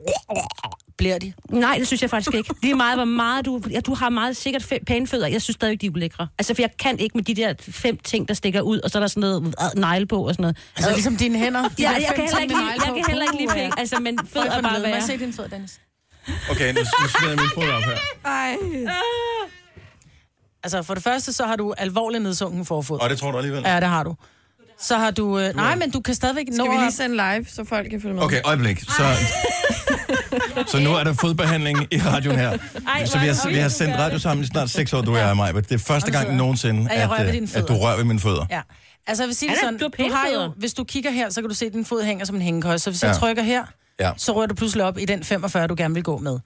D: bliver de.
C: Nej, det synes jeg faktisk ikke. Det er meget, hvor meget du... Ja, du har meget sikkert fæ- pæne fødder. Jeg synes stadigvæk, de er ulækre. Altså, for jeg kan ikke med de der fem ting, der stikker ud, og så er der sådan noget uh, negle på og sådan noget.
D: Altså, ligesom dine hænder. De
C: ja,
D: der
C: jeg
D: fem
C: kan heller
D: ting
C: ikke lide,
D: med negle
C: jeg
D: på.
C: kan heller ikke lide
D: Puh,
C: fing.
D: ja.
C: Altså, men
D: Prøv
C: fødder
D: at
C: er
D: få den
C: bare
D: ned. Må jeg se
C: værre.
D: din fod, Dennis?
A: Okay, nu, nu smider jeg min fod op her.
D: Ej. Altså, for det første, så har du alvorligt nedsunken forfod.
A: Og det tror du alligevel.
D: Ja, det har du. Så har du... Øh, nej, men du kan stadigvæk nå...
B: Skal vi lige
D: sende live, så folk kan følge med?
A: Okay, øjeblik. Så, så nu er der fodbehandling i radioen her.
D: Ej,
A: Så vi har, vi har sendt radio sammen i snart seks år, du og jeg, Maja. Det er første gang nogensinde,
D: At jeg
A: at,
D: rører ved dine
A: øh, at du
D: fødder.
A: rører ved mine fødder.
D: Ja. Altså, jeg vil sige det
C: Er det-
D: sådan,
C: du har
D: du,
C: pæne
D: har jo,
C: fødder.
D: hvis du kigger her, så kan du se, at din fod hænger som en hængekøj. Så hvis
A: Ja.
D: jeg trykker her,
A: Ja.
D: så rører du pludselig op i den 45, du gerne vil gå med.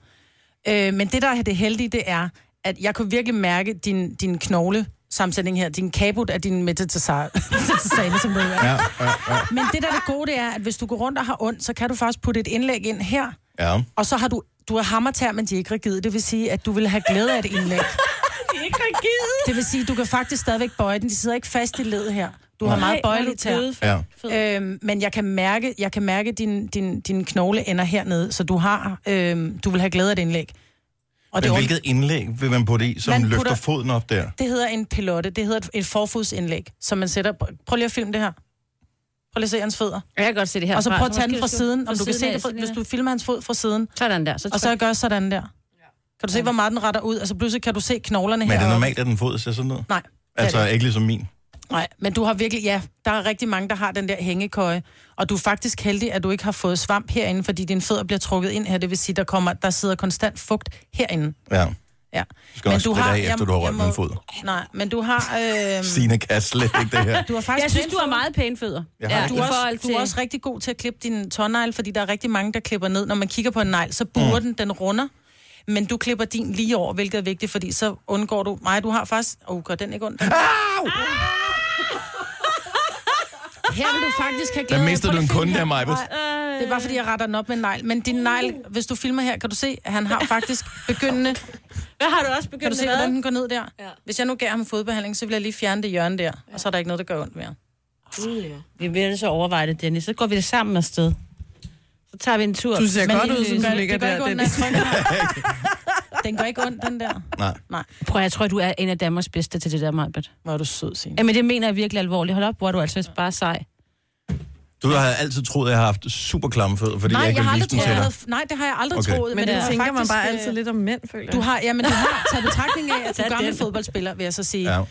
D: Øh, men det, der er det heldige, det er, at jeg kunne virkelig mærke din, din knogle sammensætning her, din kabut af din metatarsalis, som det hedder.
A: Ja, ja, ja.
D: Men det, der er det gode, det er, at hvis du går rundt og har ondt, så kan du faktisk putte et indlæg ind her,
A: ja.
D: og så har du, du har hammertær, men de er ikke rigide. Det vil sige, at du vil have glæde af et indlæg.
C: De er ikke rigide.
D: Det vil sige, at du kan faktisk stadigvæk bøje den. De sidder ikke fast i led her. Du har
C: Nej,
D: meget
C: hvor er du
D: bøjeligt tær.
C: blød.
D: Øhm, men jeg kan mærke, jeg kan mærke din, din, din knogle ender hernede, så du har, øhm, du vil have glæde af et indlæg.
A: Og
D: det
A: Men
D: er
A: hvilket indlæg vil man putte i, som
D: Man
A: løfter
D: putter-
A: foden op der?
D: Det hedder en pilotte. Det hedder et, et forfodsindlæg, som man sætter... Prøv lige at filme det her. Prøv lige at se hans fødder.
C: Jeg kan godt se det her.
D: Og så prøv at tage den fra siden, om du kan se det, fra, hvis du filmer hans fod fra siden.
C: Sådan der. Så
D: og så
C: tryk.
D: gør sådan der. Kan du se, hvor meget den retter ud? Altså pludselig kan du se knoglerne
A: Men
D: her.
A: er det normalt, at den fod ser sådan ud?
D: Nej. det er
A: Altså
D: det ikke.
A: ikke ligesom min.
D: Nej, men du har virkelig, ja, der er rigtig mange, der har den der hængekøje, og du er faktisk heldig, at du ikke har fået svamp herinde, fordi dine fødder bliver trukket ind her, det vil sige, der kommer, der sidder konstant fugt herinde.
A: Ja.
D: Ja.
A: Du skal men også du har, af, efter du har rørt min fod.
D: Nej, men du har... Øh,
A: Signe kan slet ikke det her.
D: du har faktisk
C: Jeg synes,
D: pæne
C: du har meget pæne fødder.
A: Jeg har Ja, ikke
D: du,
A: det.
D: er
A: i
D: også,
C: forhold
D: du
C: til-
D: er også rigtig god til at klippe din tårnegl, fordi der er rigtig mange, der klipper ned. Når man kigger på en negl, så burer mm. den, den runder. Men du klipper din lige over, hvilket er vigtigt, fordi så undgår du... Nej, du har faktisk... Åh, oh, gør den ikke ondt? Au! Her vil du faktisk have glæde.
A: Der
D: af-
A: mister
D: Prøv
A: du en
D: lige at
A: kunde
D: filme
A: der,
D: her.
A: Majbrit.
D: Nej, Det er bare, fordi
B: Øhm.
D: jeg retter den op med en negl. Men din negl,
B: Mm.
D: hvis du filmer her, kan du se, at han har faktisk begyndende...
C: Hvad har du også
D: Kan du
C: begyndt
D: se, hvordan den går ned der? Hvis jeg nu gav ham fodbehandling, så vil jeg lige fjerne det hjørne der, og så er der ikke noget, der gør ondt mere.
B: Gud, ja.
C: Vi vil så overveje det, Dennis. Så går vi sammen afsted. Så tager vi en tur.
B: Du ser godt ud, som du
D: gør-
B: ligger
D: det gør
B: der,
D: ikke ondt,
B: Dennis.
D: når jeg trykker. Den går ikke ondt, den der.
A: Nej.
D: Nej.
C: Prøv, jeg tror, du er en af Danmarks bedste til det der, Majbert.
D: Hvor er du sød, Signe.
C: Jamen, det mener jeg virkelig alvorligt. Hold op, hvor er du altså bare sej.
A: Du har altid troet, at jeg har haft super klamme fødder, fordi jeg ikke ville vise dem til dig.
D: troet- Nej, det har jeg aldrig
A: Okay.
D: troet.
B: Men det
D: er
B: tænker man bare
D: øh,
B: altid lidt om mænd, føler
D: Du
B: jeg.
D: har, ja, men du har taget betragtning af, at du
B: Tag
D: er gammel
B: den.
D: fodboldspiller, vil jeg så sige. Ja.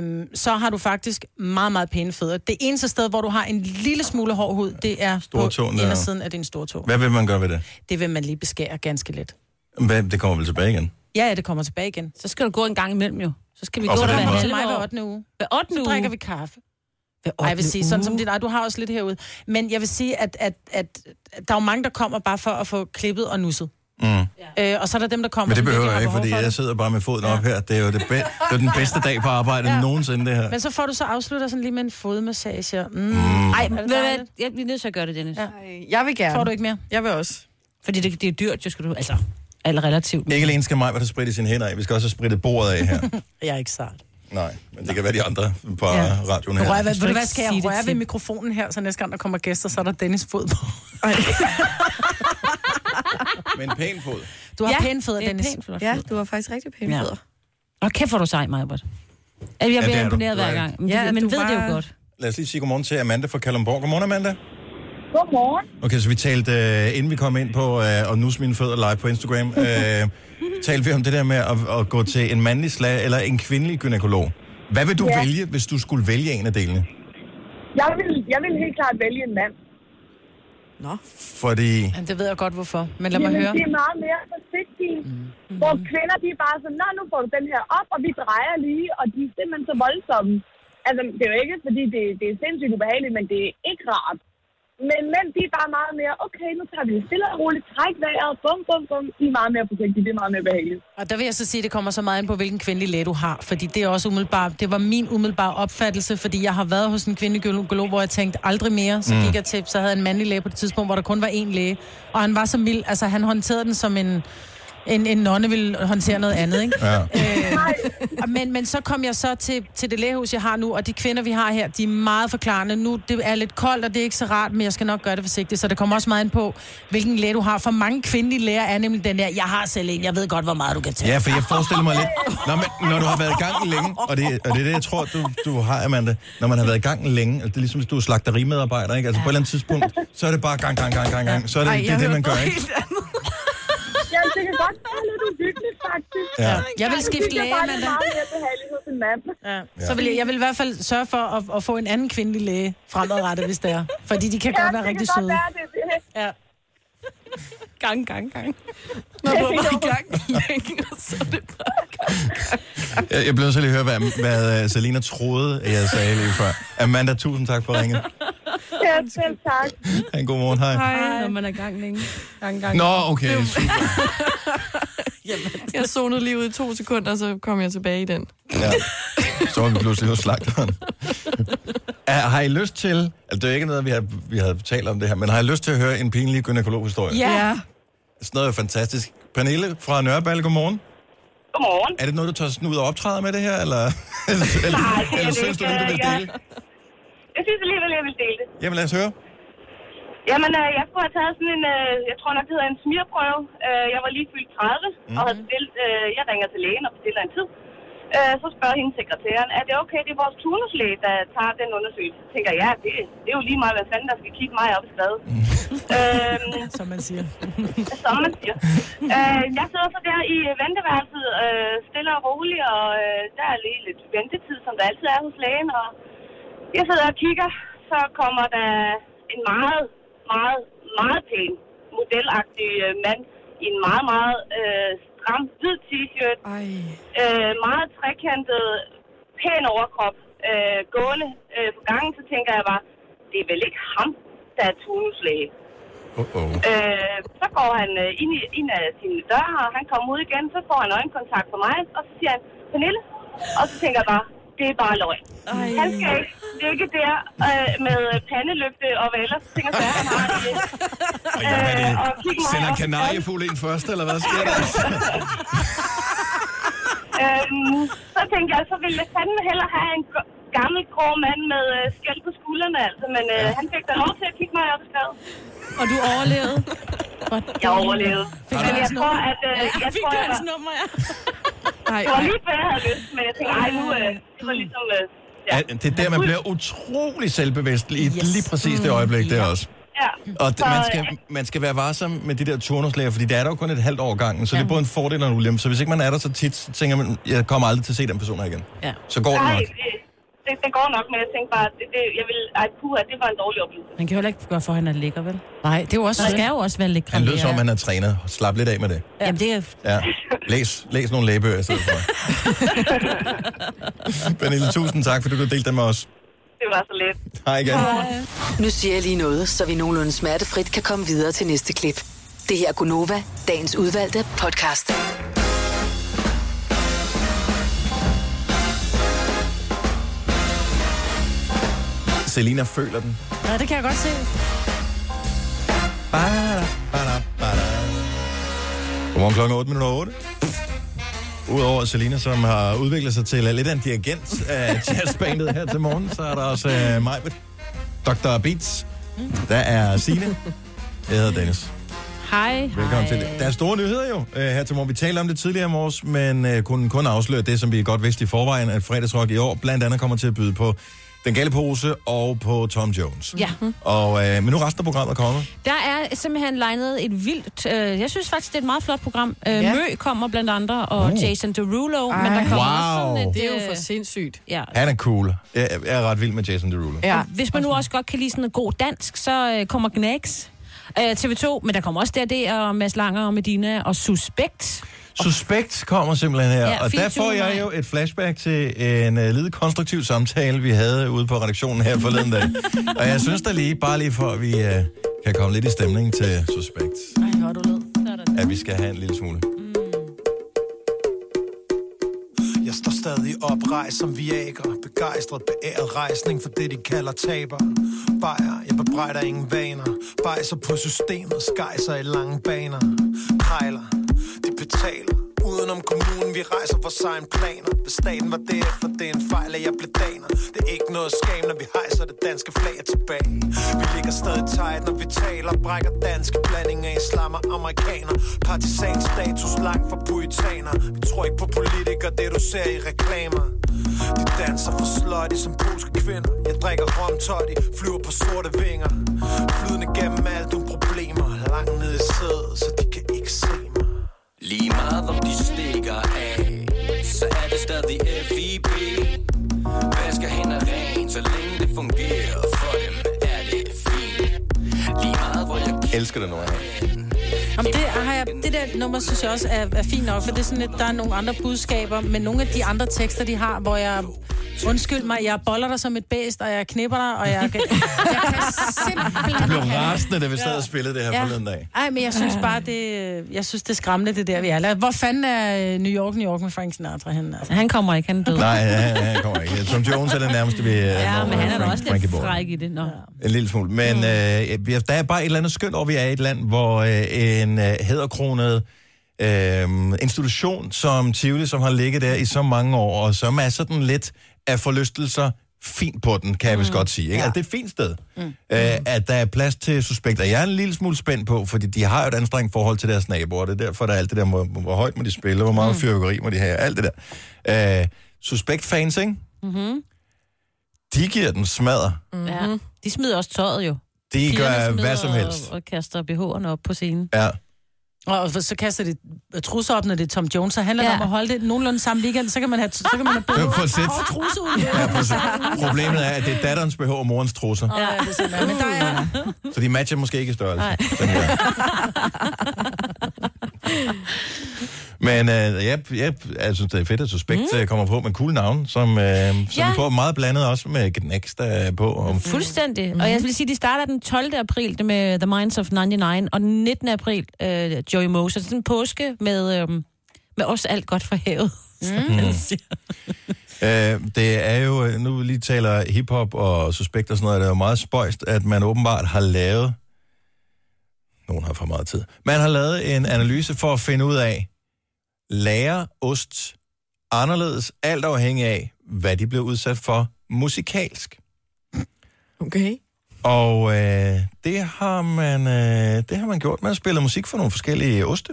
D: Øhm, så har du faktisk meget, meget pæne fødder. Det eneste sted, hvor du har en lille smule hård hud, det er på
A: Stortåen der.
D: indersiden af din stortå.
A: Hvad vil man gøre ved det?
D: Det vil man lige beskære ganske lidt.
A: Hvad, det kommer vel tilbage igen.
D: Ja, ja, det kommer tilbage igen.
C: Så skal du gå en gang imellem jo. Så skal
A: vi Og gå på der den hver måde.
D: til
A: halve
D: mig hver
C: år.
D: 8. uge.
C: Hver 8.
D: Så
C: uge?
D: drikker vi kaffe. Ej, jeg vil sige, sådan som det nej, du har også lidt herude. Men jeg vil sige, at, at, at, at der er jo mange, der kommer bare for at få klippet og nusset.
A: Mm.
D: Øh, og så er der dem, der kommer...
A: Men det
D: som
A: behøver
D: virkelig har
A: jeg ikke,
D: behov
A: fordi
D: for det.
A: jeg sidder bare med foden op her. Det er jo det be- det er den bedste dag på arbejde ja. nogensinde, det her.
D: Men så får du så afslutter sådan lige med en fodmassage. Mm.
C: Ej,
D: Ej,
C: men hvad, jeg bliver nødt til at gøre det, Dennis. Ja.
B: Jeg vil gerne.
D: Får du ikke mere?
B: Jeg vil også.
C: Fordi det, det er dyrt, jo skal du... Altså, alt relativt.
A: Ikke alene skal mig, der spritte sine hænder af. Vi skal også have sprittet bordet af her.
D: Jeg er ikke sart.
A: Nej, men det kan være de andre på
D: Ja.
A: radioen her.
D: Rør, ved, ved du hvad, skal
C: sige
D: jeg
C: det
D: røre
C: til-
D: ved mikrofonen her, så næste gang der kommer gæster, så er der Dennis fod på.
A: Men pæn fod.
D: Du har ja, pæne fødder,
C: det er
D: Dennis.
C: pænt flot
B: Ja,
C: fod.
B: du har faktisk rigtig pæne
C: Ja.
B: fødder.
C: Og kæft, hvor er du sej, Majbert. Jeg bliver
A: Ja, det er
C: ja,
A: du.
C: imponeret
A: Du er
C: hver
A: det.
C: gang. Men,
B: Ja,
C: ja, men
B: du
C: ved det
B: var-
C: jo godt.
A: Lad os lige sige godmorgen til Amanda fra Kalundborg. Godmorgen, Amanda.
O: Godmorgen.
A: Okay, så vi talte, øh, inden vi kom ind på øh, og nus mine fødder live på Instagram, øh, talte vi om det der med at, at gå til en mandlig slag eller en kvindelig gynækolog. Hvad vil du
O: Ja.
A: ja. vælge, hvis du skulle vælge en af delene?
O: Jeg vil, jeg vil helt klart vælge en mand.
B: Nå.
A: Fordi...
D: Jamen, det ved jeg godt, hvorfor. Men lad mig
O: Jamen,
D: høre.
O: de er meget mere forsigtige. Mm. Hvor kvinder, de er bare sådan, Nå, nu får du den her op, og vi drejer lige, og de er simpelthen så voldsomme. Altså, det er jo ikke, fordi det, det er sindssygt ubehageligt, men det er ikke rart. Men mænd, de er bare meget mere, okay, nu tager vi det stille og roligt, træk vejret, bum, bum, bum. De er meget mere forsigtige, det er meget mere behageligt.
D: Og der vil jeg så sige, at det kommer så meget ind på, hvilken kvindelig læge du har. Fordi det er også umiddelbart, det var min umiddelbare opfattelse, fordi jeg har været hos en kvindelig gynekolog, hvor jeg tænkte aldrig mere. Så
P: Mm.
D: mm. gik jeg til, så havde jeg en mandlig læge på det tidspunkt, hvor der kun var én læge. Og han var så mild, altså han håndterede den som en... En, en nonne ville håndtere noget andet, ikke?
A: Ja.
D: Øh, men, men så kom jeg så til, til det lægehus, jeg har nu, og de kvinder, vi har her, de er meget forklarende. Nu det er lidt koldt, og det er ikke så rart, men jeg skal nok gøre det forsigtigt. Så det kommer også meget ind på, hvilken læge du har. For mange kvindelige læger er nemlig den der, jeg har selv en, jeg ved godt, hvor meget du kan tage.
A: Ja, for jeg forestiller mig lidt... Nå, men, når du har været i gang længe, og det, og det er det, jeg tror, du, du har, Amanda, når man har været i gang længe, altså, det er ligesom, hvis du er slagterimedarbejder, ikke? Altså på et eller andet tidspunkt, så er det bare gang, gang, gang, gang, gang. Så er det
O: Ej,
A: Ej, det,
O: jeg
A: er det,
O: hørte
A: man gør,
O: noget
A: ikke?
O: Jamen, det kan godt være lidt uhyggeligt, faktisk.
A: Ja.
D: Jeg vil skifte
O: synes,
D: læge,
O: Jeg bare, det
D: Amanda.
O: er meget mere behageligt hos en mand.
D: Ja. Så vil jeg, jeg vil i hvert fald sørge for at, at få en anden kvindelig læge fremadrettet, hvis det er. Fordi de kan godt være rigtig søde.
O: Ja.
D: Gang, gang, gang.
B: Når du har været i gang længe, og så er det bare...
A: Jeg, jeg blev nødt til lige at høre, hvad, hvad øh, Selina troede, at jeg sagde lige før. Amanda, tusind tak for ringet.
O: Ja, selv tak.
A: Ha' en god morgen. Hej.
C: når man er i gang længe. Gang, gang.
A: Nå, okay.
B: Jeg zonede lige ud i to sekunder, og så kom jeg tilbage i den.
A: Ja. Så var vi pludselig hos slagteren. Er, har I lyst til... Altså, det er jo ikke noget, vi har, vi har talt om det her, men har I lyst til at høre en pinlig gynækologhistorie?
B: Ja.
A: Sådan noget er fantastisk. Pernille fra Nørreballe, godmorgen.
Q: Godmorgen.
A: Er det noget, du tager sådan ud og optræder med det her, eller, eller,
Q: Nej,
A: eller,
Q: det er
A: eller
Q: det
A: synes du,
Q: ikke.
A: du vil
Q: Jeg-
A: dele?
Q: Jeg synes alligevel, jeg vil dele det.
A: Jamen, lad os høre.
Q: Jamen, øh, jeg skulle have taget sådan en, øh, jeg tror nok, det hedder en smirprøve. Øh, jeg var lige fyldt 30, mm. og havde
D: Mhm.
Q: bestilt, øh, jeg ringer til lægen og bestiller en tid. Øh, så spørger hende sekretæren, er det okay, det er vores turnuslæge, der tager den undersøgelse? Så tænker jeg, ja, det, det er jo lige meget, hvad fanden, der skal kigge mig op i skrevet. øhm,
D: Mhm. Som man siger.
Q: som man siger. Øh, jeg sidder så der i venteværelset, øh, stille og roligt, og øh, der er lige lidt ventetid, som der altid er hos lægen, og jeg sidder og kigger, så kommer der en meget, meget, meget pæn, modelagtig øh, mand i en meget, meget øh, stram hvid t-shirt. Øh, meget trekantet, pæn overkrop, øh, gående øh, på gangen, så tænker jeg bare, det er vel ikke ham, der er tunuslæge.
A: Uh-oh.
Q: Øh, så går han øh, ind, i, ind af sin dør, og han kommer ud igen, så får han øjenkontakt på mig, og så siger han, Pernille, og så tænker jeg bare, det er bare løgn.
K: Ej.
Q: Han skal ikke ligge der øh, med pandelygte og hvad ellers, tænker jeg, så er han har det.
A: Og jamen, er
Q: Øh, og kig
A: det,
Q: mig
A: sender
Q: op i
A: kanariefugle ind først, eller hvad sker der?
Q: øhm, så tænkte jeg, så ville jeg fandme hellere have en go- gammel grå mand med øh, skæld på skuldrene, altså, men øh, han fik da lov til at kigge mig op i skrevet.
C: Og du overlevede?
Q: jeg overlevede.
K: Fik
Q: Men
K: du
Q: jeg
K: hans
Q: tror,
K: nummer?
Q: at... Øh,
K: Ja,
Q: jeg
K: fik
Q: tror,
K: du
Q: jeg
K: hans
Q: var-
B: nummer,
K: ja?
Q: Det var lige før, jeg havde lyst, men jeg tænkte, ej, nu... Øh, det
K: Mm.
Q: var ligesom... Øh,
A: Ja. Det er der, man bliver utrolig selvbevidst i yes. lige præcis det øjeblik, der også.
Q: ja.
A: Og d-
Q: Så,
A: man,
Q: øh,
A: skal, man skal være varsom med de der turnuslæger, fordi der er der jo kun et halvt år gangen, så det er både en fordel og en ulempe. Så hvis ikke man er der så tit, så tænker man, jeg kommer aldrig til at se den person her igen.
C: Ja.
A: Så går det
Q: nej,
A: nok.
Q: det, det, det, går nok, men jeg tænkte bare, det, det, jeg ville, ej, puha, det var en dårlig oplevelse.
C: Man kan heller ikke gøre for, at han er lækker, vel?
D: Nej, det er jo også...
C: Man skal jo også være lækker.
A: Han lød som om, han er træner. Slap lidt af med det.
C: Jamen, det er...
A: Ja. Læs, læs nogle lægebøger i stedet for. Pernille, tusind tak, fordi du delte dem med os.
Q: Det var så let.
A: Hej igen.
F: Nu siger jeg lige noget, så vi nogenlunde smertefrit kan komme videre til næste klip. Det her er Gunova, dagens udvalgte podcast.
A: Selina føler den.
D: Ja, det kan jeg godt se.
A: Bada, bada, bada. Godmorgen klokken 8 minutter 8. Udover Selina, som har udviklet sig til øh, lidt af en dirigent af jazzbandet her til morgen, så er der også uh, mig, Dr. Beats.
D: Mm.
A: Der er Signe. Jeg hedder Dennis.
C: Hej.
A: Velkommen til. Der er store nyheder jo øh, her til morgen. Vi talte om det tidligere i morges, men øh, kunne kun afsløre det, som vi godt vidste i forvejen, at fredagsrock i år blandt andet kommer til at byde på Den Gale Pose og på Tom Jones.
C: Ja.
A: Og, øh, men nu er resten af programmet kommet.
C: Der er simpelthen legnet et vildt... Øh, jeg synes faktisk, det er et meget flot program. Øh,
A: Ja.
C: Mø kommer blandt andre, og
A: Uh.
C: Jason Derulo. Ej. Men der kommer også sådan
A: Wow.
C: et...
A: Det
B: er jo for
C: sindssygt. Ja.
A: Han er cool. Jeg, jeg er ret vild med Jason Derulo.
C: ja. Hvis man nu også godt kan lide sådan noget god dansk, så øh, kommer Gnags. Øh, TV2, men der kommer også DRD og Mads Langer og Medina og Suspekt.
A: Suspekt kommer simpelthen her,
C: Ja,
A: ja, og der
C: 24.
A: får jeg jo et flashback til en uh, lidt konstruktiv samtale, vi havde ude på redaktionen her forleden dag. og jeg synes da lige, bare lige for at vi uh, kan komme lidt i stemning til Suspekt,
D: Ej, hvor er du lød.
A: at vi skal have en lille smule.
P: Mm. Jeg står stadig oprejst som viager Begejstret, beæret rejsning for det, de kalder taber Bajer, jeg bebrejder ingen vaner Bejser på systemet, skejser i lange baner Krejler, de betaler Udenom kommunen, vi rejser vores egen planer Hvis staten var det, for det er en fejl, at jeg blev daner Det er ikke noget skam, når vi hejser det danske flag er tilbage Vi ligger stadig tight, når vi taler Brækker danske blandinger, islam og amerikaner Partisan status langt fra puritaner Vi tror ikke på politikere, det du ser i reklamer De danser for slutty som polske kvinder Jeg drikker rom toddy, flyver på sorte vinger Flydende gennem alt uden problemer Langt ned i sædet, så de kan ikke se mig
R: Lige meget om de stikker af Så er det stadig FIB Vasker hænder rent Så længe det fungerer For dem er det fint Lige meget hvor jeg
A: Elsker det nummer her.
D: Jamen, det, har jeg, det der nummer synes jeg også er, er fint nok, for det er sådan, at der er nogle andre budskaber, men nogle af de andre tekster, de har, hvor jeg... Undskyld mig, jeg boller dig som et bæst, og jeg knipper dig, og jeg, kan- jeg kan simpelthen...
A: Det blev rasende, da vi sad og spillede det her ja. forleden dag.
D: Ej, men jeg synes bare, det, jeg synes, det er skræmmende, det der, vi er. Eller, Hvor fanden er øh, New York, New York med Frank Sinatra henne? Altså?
C: Han kommer ikke, han død.
A: Nej, han, han kommer ikke. Tom Jones er det nærmeste, vi øh,
C: Ja,
A: når
C: men han er da
A: Frank-
C: også
A: Frankie
C: lidt
A: Boyle.
C: fræk i det. Nå.
A: En lille smule. Men mm. øh, der er bare et eller andet skønt over, at vi er i et land, hvor øh, en øh, hæderkronet øh, institution som Tivoli, som har ligget der i så mange år, og som er sådan lidt af forlystelser fint på den, kan jeg mm. vist godt sige. Ikke? Ja. Altså, det er et fint sted. Mm. Øh, at der er plads til suspekter. Jeg er en lille smule spændt på, fordi de har jo et anstrengt forhold til deres naboer. Det er derfor, der er alt det der, hvor, hvor højt må de spille, hvor meget mm. fyrværkeri må de have, alt det der. Øh, Suspektfans, ikke?
C: Mm-hmm.
A: De giver den smadder.
C: Mm-hmm. Ja. De smider også tøjet jo.
A: De gør
C: smider
A: hvad som helst.
C: Og, og kaster BH'erne op på scenen.
A: Ja.
D: Og så kaster de trusser op, når det er Tom Jones, så handler det om at holde det nogenlunde samme weekend, så kan man have, så kan man have
A: Det er
D: både
A: for sæt.
D: og trusse ud.
A: Ja, præcis. Problemet er, at det er datterens behov og morens trusser.
D: Åh, ja, det er sådan, ja. Men der er...
A: Så de matcher måske ikke i størrelse.
D: Nej.
A: Men øh, jeg, jeg, jeg synes, det er fedt, at Suspekt mm. kommer på med cool navn, som, øh, som
C: Ja.
A: ja. får meget blandet også med Gnex, der er på. Om,
C: Fuldstændig. Mm-hmm. Og jeg vil sige, de starter den 12. april det med The Minds of 99, og den 19. april øh, Joey Moser. Så det er en påske med, øh, med os alt godt for havet. Mm.
A: Øh, det er jo, øh, nu vi lige taler hiphop og suspekt og sådan noget, det er jo meget spøjst, at man åbenbart har lavet, nogen har for meget tid, man har lavet en analyse for at finde ud af, lærer ost anderledes, alt afhængig af, hvad de blev udsat for, musikalsk.
B: Okay.
A: Og øh, det, har man, øh, det har man gjort. Man har spillet musik for nogle forskellige oste.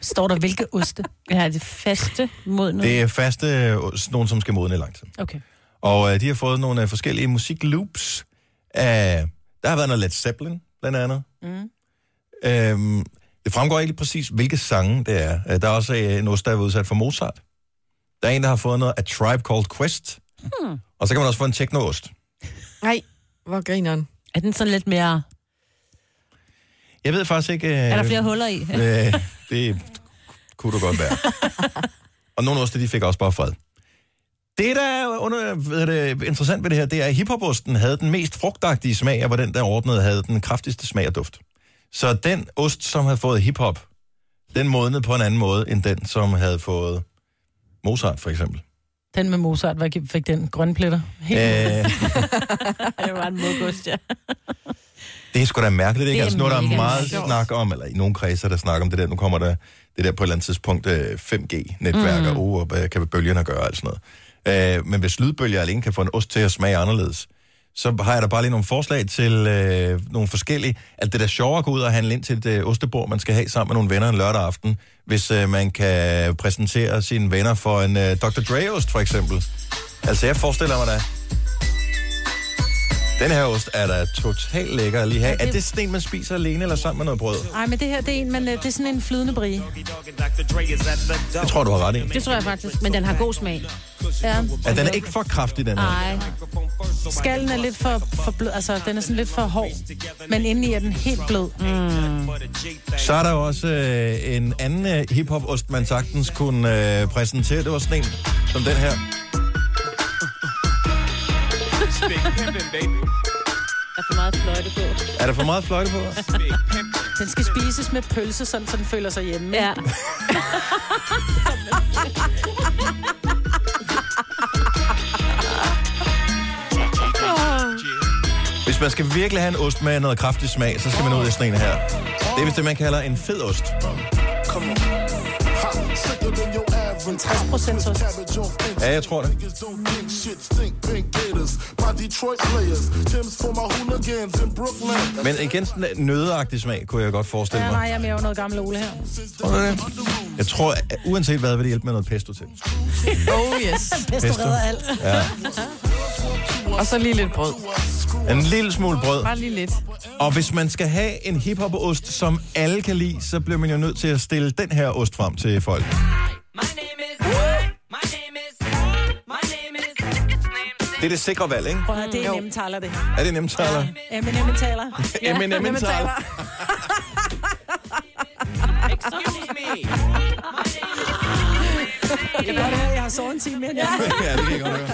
C: Står der hvilke oste? Ja, det faste mod noget.
A: Det er faste, øh, ost- nogen som skal modne i lang tid.
C: Okay.
A: Og øh, de har fået nogle øh, forskellige musikloops. Øh, der har været noget Led Zeppelin, blandt andet.
E: Mm.
A: Øhm, det fremgår ikke lige præcis, hvilke sange det er. Øh, der er også øh, en ost, der er udsat for Mozart. Der er en, der har fået noget af Tribe Called Quest.
B: Hmm.
A: Og så kan man også få en techno-ost.
B: Nej, hvor grineren.
C: Er den sådan lidt mere...
A: Jeg ved faktisk ikke... Øh,
C: Er der flere huller i?
A: øh, det kunne du godt være. og nogle oste, de fik også bare fred. Det, der er under, hvad er det, interessant ved det her, det er, at hiphoposten havde den mest frugtagtige smag, og hvor den, der ordnede, havde den kraftigste smag og duft. Så den ost, som havde fået hiphop, den modnede på en anden måde, end den, som havde fået Mozart, for eksempel.
D: Den med Mozart, hvad gi- fik den? Grønne pletter?
A: Øh.
D: det var en modgust, ja.
A: Det er sgu da mærkeligt,
D: Det
A: ikke?
D: er
A: Altså, nu er der
D: mega
A: meget
D: sjovt.
A: snak om, eller i nogle kredser, der snakker om det der. Nu kommer der det der på et eller andet tidspunkt, øh, 5G-netværk, mm.
S: Mm.
A: og oh, hvad kan bølgerne gøre, og sådan noget. Øh, men hvis lydbølger alene kan få en ost til at smage anderledes, så har jeg da bare lige nogle forslag til øh, nogle forskellige. At det der sjovere at gå ud og handle ind til et øh, ostebord, man skal have sammen med nogle venner en lørdag aften, hvis øh, man kan præsentere sine venner for en øh, Dr. Dre-ost, for eksempel. Altså, jeg forestiller mig da, den her ost er da totalt lækker at lige have. Er det sådan en, man spiser alene eller sammen med noget brød?
D: Ej, men det her, det er, en, men øh, det er sådan en flydende brie.
A: Det tror du har ret i.
C: Det tror jeg faktisk, men den har god smag.
D: Ja.
A: At den er ikke for kraftig, den her.
D: Nej. Skallen er lidt for, for blød, altså den er sådan lidt for hård, men indeni er den helt blød. Mm.
A: Så er der jo også øh, en anden øh, hiphop-ost, man sagtens kunne øh, præsentere. Det var sådan en som den her.
C: Der er for meget fløjte på.
A: Er der for meget fløjte på?
D: Den skal spises med pølse, sådan, så den føler sig hjemme. Ja.
A: Hvis man skal virkelig have en ost med noget kraftig smag, så skal man ud i sådan en her. Det er vist det, man kalder en fed ost.
D: 60% ost.
A: Ja, jeg tror det. Men igen sådan en nødeagtig smag, kunne jeg godt forestille
D: Ja,
A: mig.
D: nej, jeg er jo noget gammel Ole her.
A: Tror du det? Jeg tror, at uanset hvad, vil det hjælpe med noget pesto til.
D: Oh yes. Pesto redder alt.
A: Ja.
B: Og så lige lidt brød.
A: En lille smule brød.
B: Bare lige lidt.
A: Og hvis man skal have en hiphopost, som alle kan lide, så bliver man jo nødt til at stille den her ost frem til folk. Det er det sikre valg, ikke?
D: Prøv at høre, det er nemme taler, det her.
A: Er det nemt, M&M, taler?
D: Eminem taler.
A: Ja, Eminem taler.
D: Excuse me. Jeg kan godt høre, jeg har sovet en time mere. Ja.
A: ja, det kan jeg godt høre.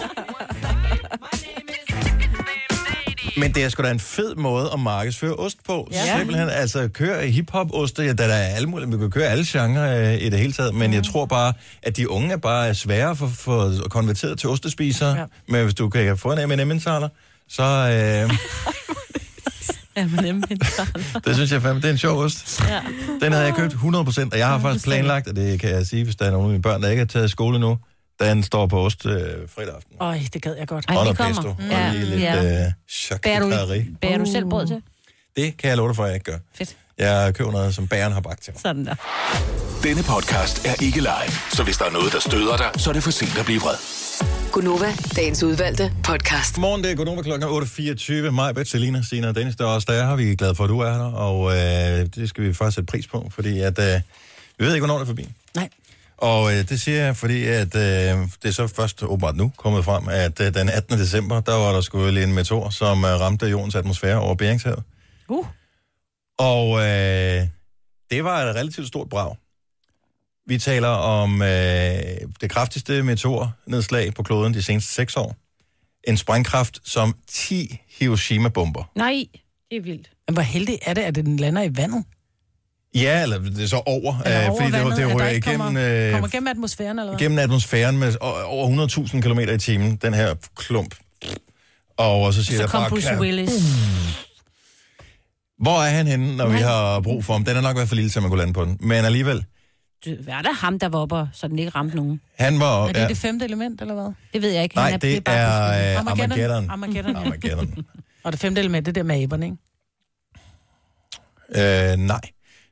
A: Men det er sgu da en fed måde at markedsføre ost på. Ja.
E: Ja.
A: Simpelthen, altså køre hiphop-oste, ja, der er alle mulige, man kan køre alle genrer øh, i det hele taget, men jeg tror bare, at de unge er bare svære for, for at konvertere til ostespisere, ja. men hvis du kan få en M&M indsejler, så øh,
C: Ja, men nemlig.
A: det synes jeg fandme, det er en sjov ost.
C: Ja.
A: Den havde jeg købt 100%, og jeg har faktisk planlagt, og det kan jeg sige, hvis der er nogen af mine børn, der ikke har taget i skole nu, den står på ost øh, fredag aften.
D: Øj, det gad jeg godt.
A: Ej, og noget pesto, og lige lidt ja. øh,
C: Bærer du,
A: charcuterie.
C: bærer du selv brød til?
A: Det kan jeg love dig for, at jeg ikke gør.
C: Fedt.
A: Jeg køber noget, som bæren har bagt til mig.
C: Sådan der.
G: Denne podcast er ikke live, så hvis der er noget, der støder dig, så er det for sent at blive vred.
F: Gunova, dagens udvalgte podcast.
A: Morgen, det er Godnova klokken 8.24. Mig, Bette, Selina, Sina og Dennis, der er også der er her. Vi er glade for, at du er her, og øh, det skal vi faktisk sætte pris på, fordi at, øh, vi ved ikke, hvornår det er forbi.
D: Nej.
A: Og øh, det siger jeg, fordi at, øh, det er så først åbenbart nu kommet frem, at øh, den 18. december, der var der sgu lige en meteor, som øh, ramte jordens atmosfære over Beringshavet.
C: Uh.
A: Og øh, det var et relativt stort brag. Vi taler om øh, det kraftigste meteornedslag på kloden de seneste seks år. En sprængkraft som 10 Hiroshima-bomber.
C: Nej, det er vildt.
D: Men hvor heldig er det, at den lander i vandet?
A: Ja, eller det er så over,
D: Eller
A: øh,
D: over
A: fordi
D: vandet,
A: det, det
D: at der
A: rører
D: ikke
A: igennem,
D: Kommer,
A: øh,
D: kommer gennem atmosfæren, eller hvad?
A: gennem atmosfæren med o- over 100.000 km i timen, den her klump. Og så siger
C: Så
A: jeg
C: kom
A: bare,
C: Bruce
A: kan-
C: Willis.
A: hvor er han henne, når Nej. vi har brug for ham? Den er nok i hvert fald lille, til at man kunne lande på den. Men alligevel,
C: det var da ham, der var oppe, og- så den ikke ramte nogen.
A: Han var...
D: Er det ja. det femte element, eller hvad?
C: Det ved jeg ikke.
A: Nej,
C: Han
A: det
C: bare-
A: er øh,
D: Armageddon.
A: Armageddon.
D: Armageddon.
A: Armageddon.
D: Og det femte element, det er der med æberne, ikke?
A: Øh, nej.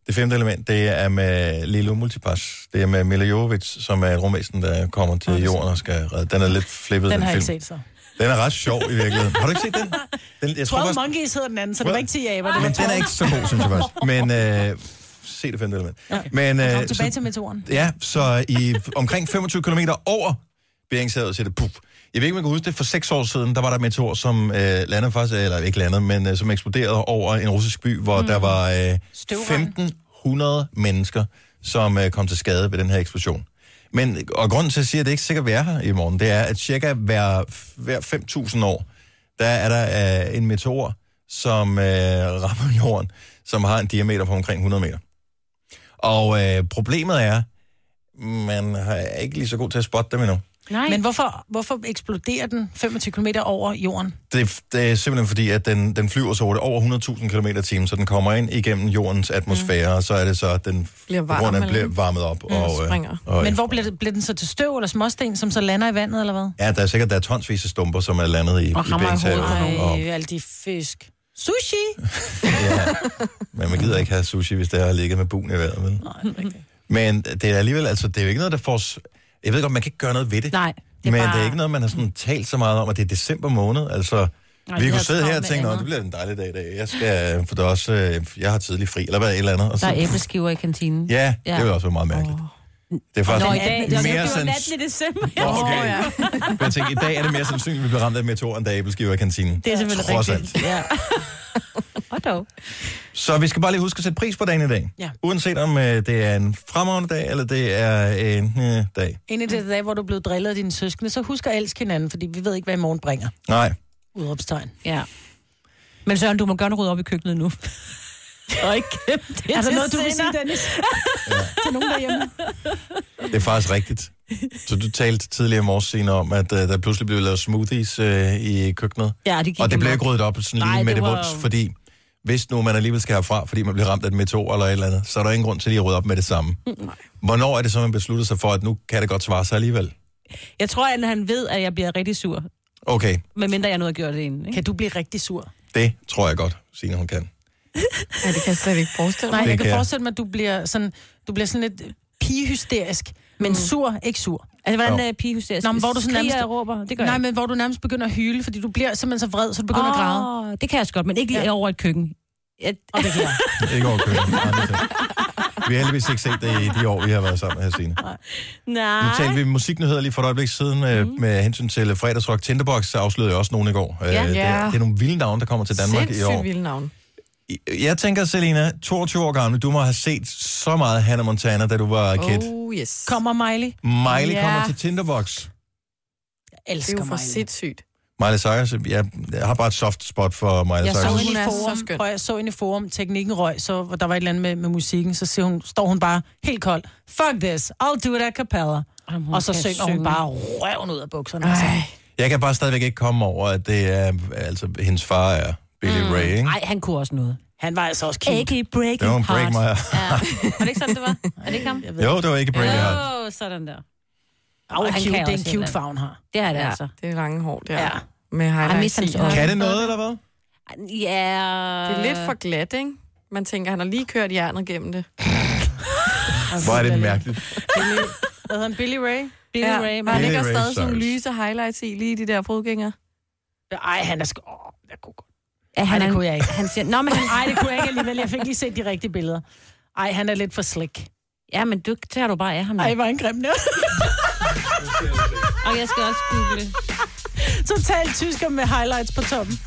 A: Det femte element, det er med Lilo Multipass. Det er med Mila Jovovich, som er et rumvæsen, der kommer til jorden og skal redde. Den er lidt flippet,
D: Den
A: den,
D: har jeg
A: film.
D: ikke set så.
A: Den er ret sjov i virkeligheden. Har du ikke set den? den jeg
D: Jeg
A: tror
D: tror,
A: faktisk,
D: Monkeys hedder den anden, så det var
A: Well,
D: ikke 10 aber. det var
A: men den er
D: 12.
A: ikke så god, synes jeg faktisk. Men øh, se det femte element.
D: Okay.
A: Men,
D: Kom
A: øh,
D: tilbage
A: så-
D: til meteoren.
A: Ja, så i omkring 25 km over Beringshavet ser det pup. Jeg ved ikke, om man kan huske det. For seks år siden, der var der et meteor, som øh, landede faktisk, eller ikke landede, men øh, som eksploderede over en russisk by, hvor mm. der var øh, 1500 mennesker, som øh, kom til skade ved den her eksplosion. Men, og grunden til, at jeg siger, at det ikke sikkert vil være her i morgen, det er, at cirka hver, hver 5.000 år, der er der øh, en meteor, som øh, rammer jorden, som har en diameter på omkring 100 meter. Og øh, problemet er, man er ikke lige så god til at spotte dem endnu.
D: Nej. Men hvorfor, hvorfor eksploderer den 25 km over jorden?
A: Det, det er simpelthen fordi, at den, den flyver så hurtigt over 100.000 km t så den kommer ind igennem jordens atmosfære, mm. og så er det så, at den
D: Bliver
A: på
D: varm
A: grund af,
D: eller-
A: bliver varmet op. Mm, og, øh, og,
D: Men hvor bliver, det, bliver den så til støv eller småsten, som så lander i vandet, eller hvad?
A: Ja, der er sikkert der er tonsvis af stumper, som er landet i,
D: Og
A: i
D: rammer i
A: Beringshavet.
D: hovedet.
A: Og,
D: Ej, alle de fisk. Sushi!
A: men man gider ikke have sushi, hvis der har ligget med buen i vejret. Men, men det er alligevel, altså, det er jo ikke noget, der får... s- Jeg ved godt, man kan ikke gøre noget ved det.
C: Nej,
A: det men
C: bare-
A: det er ikke noget, man har sådan talt så meget om, og det er december måned. Altså,
C: Nej,
A: Nej, vi
C: det
A: kunne
C: er
A: sidde her og
C: travlt med
A: tænke, at
C: andet."
A: det bliver en dejlig dag i dag. Jeg skal, øh, for det er også, øh, jeg har tidlig fri, eller hvad, et eller andet. Og
C: Der
A: så,
C: er æbleskiver i kantinen.
A: ja, det vil også være meget mærkeligt. Det er faktisk
C: Nå, i dag. Det var,
A: mere
C: det var
A: sands...
C: natten i december.
A: Nå, okay. Men jeg tænker, i dag er det mere sandsynligt, at vi bliver ramt af en meteor, end da æbleskiver i kantinen.
C: Det er selvfølgelig
A: Trods alt.
C: rigtigt. Ja. Og dog.
A: Så vi skal bare lige huske at sætte pris på dagen i dag.
D: Ja.
A: Uanset om øh, det er en fremragende dag, eller det er en øh, dag.
D: En af de dage, hvor du blev drillet af dine søskende, så husk at elske hinanden, fordi vi ved ikke, hvad i morgen bringer.
A: Nej.
D: Udropstegn.
C: Ja. Men Søren, du må gerne rydde op i køkkenet nu. Og ikke gemme det
D: Er der
C: til
D: noget, du vil sige,
C: senere.
D: Dennis? Til nogen derhjemme.
A: Det er faktisk rigtigt. Så du talte tidligere i morges Signe, om, at øh, der pludselig blev lavet smoothies øh, i køkkenet.
C: Ja, det gik
A: og det
C: dem
A: blev
C: op.
A: ikke ryddet op sådan lige
C: Nej,
A: med
C: det
A: det
C: var-
A: vunds, fordi hvis nu man alligevel skal herfra, fordi man bliver ramt af et meteor eller et eller andet, så er der ingen grund til lige at rydde op med det samme. Nej. Hvornår er det så, man beslutter sig for, at nu kan det godt svare sig alligevel?
C: Jeg tror, at han ved, at jeg bliver rigtig sur.
A: Okay,
C: Medmindre jeg nu har gjort det inden. Ikke?
D: Kan du blive rigtig sur?
A: det tror jeg godt, Signe hun kan.
D: Ja, det kan jeg slet ikke forestille mig. Nej,
A: Det
D: jeg kan
A: kan jeg.
D: forestille mig, at du bliver sådan, du bliver sådan lidt pigehysterisk,
B: Mm.
D: men sur, ikke sur.
C: Altså, hvordan er pigehysterisk?
D: Nå, men hvor du sådan
C: Skriger
D: nærmest...
C: og råber? Det gør
D: Nej,
C: jeg
D: men hvor du nærmest begynder at hyle, fordi du bliver simpelthen så vred, så du begynder oh. at græde.
C: Åh, Det kan jeg også godt, men ikke lige ja. over et køkken. ah. Jeg...
D: Og det kan jeg.
A: Ikke over køkken. andre ting. Vi har heldigvis ikke set det i de år, vi har været sammen her, Signe. Nu
C: Nej.
A: talte vi musiknyheder lige for et øjeblik siden mm. med hensyn til øh, fredagsrock. Tinderbox afslørede jo også nogen i går. Øh, Det,
B: Ja.
A: er, det er nogle vilde navne, der kommer til Danmark i
B: Sindssygt
A: år.
B: vilde navn.
A: Jeg tænker, Selina, 22 år gammel, du må have set så meget Hannah Montana, da du var kid.
B: Oh yes.
D: Kommer Miley?
A: Miley
B: Ja.
A: kommer til Tinderbox.
D: Jeg elsker
B: Det er jo for
D: Miley.
B: sindssygt.
A: Miley Cyrus, jeg, jeg har bare et soft spot for Miley
D: Jeg så
A: Cyrus.
D: hende i
B: er så
D: forum,
B: skøn.
D: og jeg så hende i forum, teknikken røg, så hvor der var et eller andet med, med musikken, så siger hun, står hun bare helt kold, fuck this, I'll do it a cappella.
C: hun
D: og så
C: kan
D: synger
C: synge.
D: hun bare røven ud af bukserne. Altså.
A: Jeg kan bare stadigvæk ikke komme over, at det er, altså, hendes far er Billy mm. Ray, ikke?
C: Nej, han kunne også noget.
D: Han var altså også cute.
C: Ikke breaking
A: Don't break
C: heart.
A: my...
C: Var det ikke sådan, det var? Er det ikke ham?
A: Jo, det var ikke breaking heart.
C: Åh, sådan der.
D: Au,
C: Og han
D: cute,
C: kan
D: det er en
C: også
D: cute
C: et eller andet.
D: farve, hun har.
C: Det er det altså.
B: Det er lange hår, der.
C: Ja.
B: Ja. Med
C: Ej,
B: highlights
C: mest hans
B: i.
C: øjne.
A: Kan det noget, eller hvad?
C: Ja.
B: Det er lidt for glat, ikke? Man tænker, han har lige kørt hjernet gennem det.
A: Hvor er det mærkeligt.
D: Billy, hvad hedder han? Billy Ray?
C: Billy Ray,
B: men
C: men-
B: han
A: Billy
B: ligger
A: Ray
B: stadig sådan nogle
A: Cyrus.
B: lyse highlights i lige i de der fodgængere.
D: Ej, han er sgu... Åh, jeg kunne godt.
C: Ja,
D: Ej,
C: han,
D: det
C: er-
D: kunne jeg ikke.
C: Han siger, Nå, men han,
D: Ej, det kunne jeg ikke alligevel. Jeg fik lige set de rigtige billeder. Ej, han er lidt for slick.
C: ja, men du tager du bare af ham.
D: Ej,
C: mand.
D: var en grim nørd.
C: Og jeg skal også google det.
D: Totalt tysker med highlights på toppen.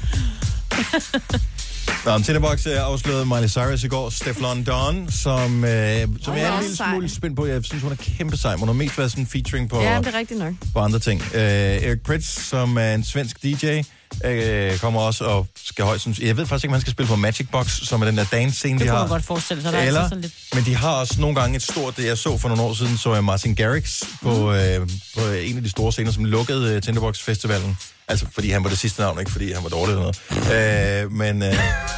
A: Nå, men Tinderbox øh, afslørede Miley Cyrus i går. Stefan Don, som, øh, som jeg er en
B: også
A: lille
B: sej.
A: smule spændt på. Jeg synes, hun er kæmpe sej. Hun har mest været sådan featuring på,
B: Ja, men det er rigtigt nok.
A: på andre ting. Øh, Erik Pritz, som er en svensk DJ, øh, kommer også og skal højst... sands- Jeg ved faktisk ikke, om han skal spille på Magic Box, som er den der dance-scene, de
C: Det
A: har.
C: kunne man godt forestille sig. Der er
A: Eller,
C: altid sådan lidt...
A: men de har også nogle gange et stort, det jeg så for nogle år siden, så jeg Martin Garrix
C: Mm.
A: på, øh, på en af de store scener, som lukkede øh, Tinderbox Festivalen. Altså, fordi han var det sidste navn, ikke fordi han var dårlig eller noget. Øh, men, øh,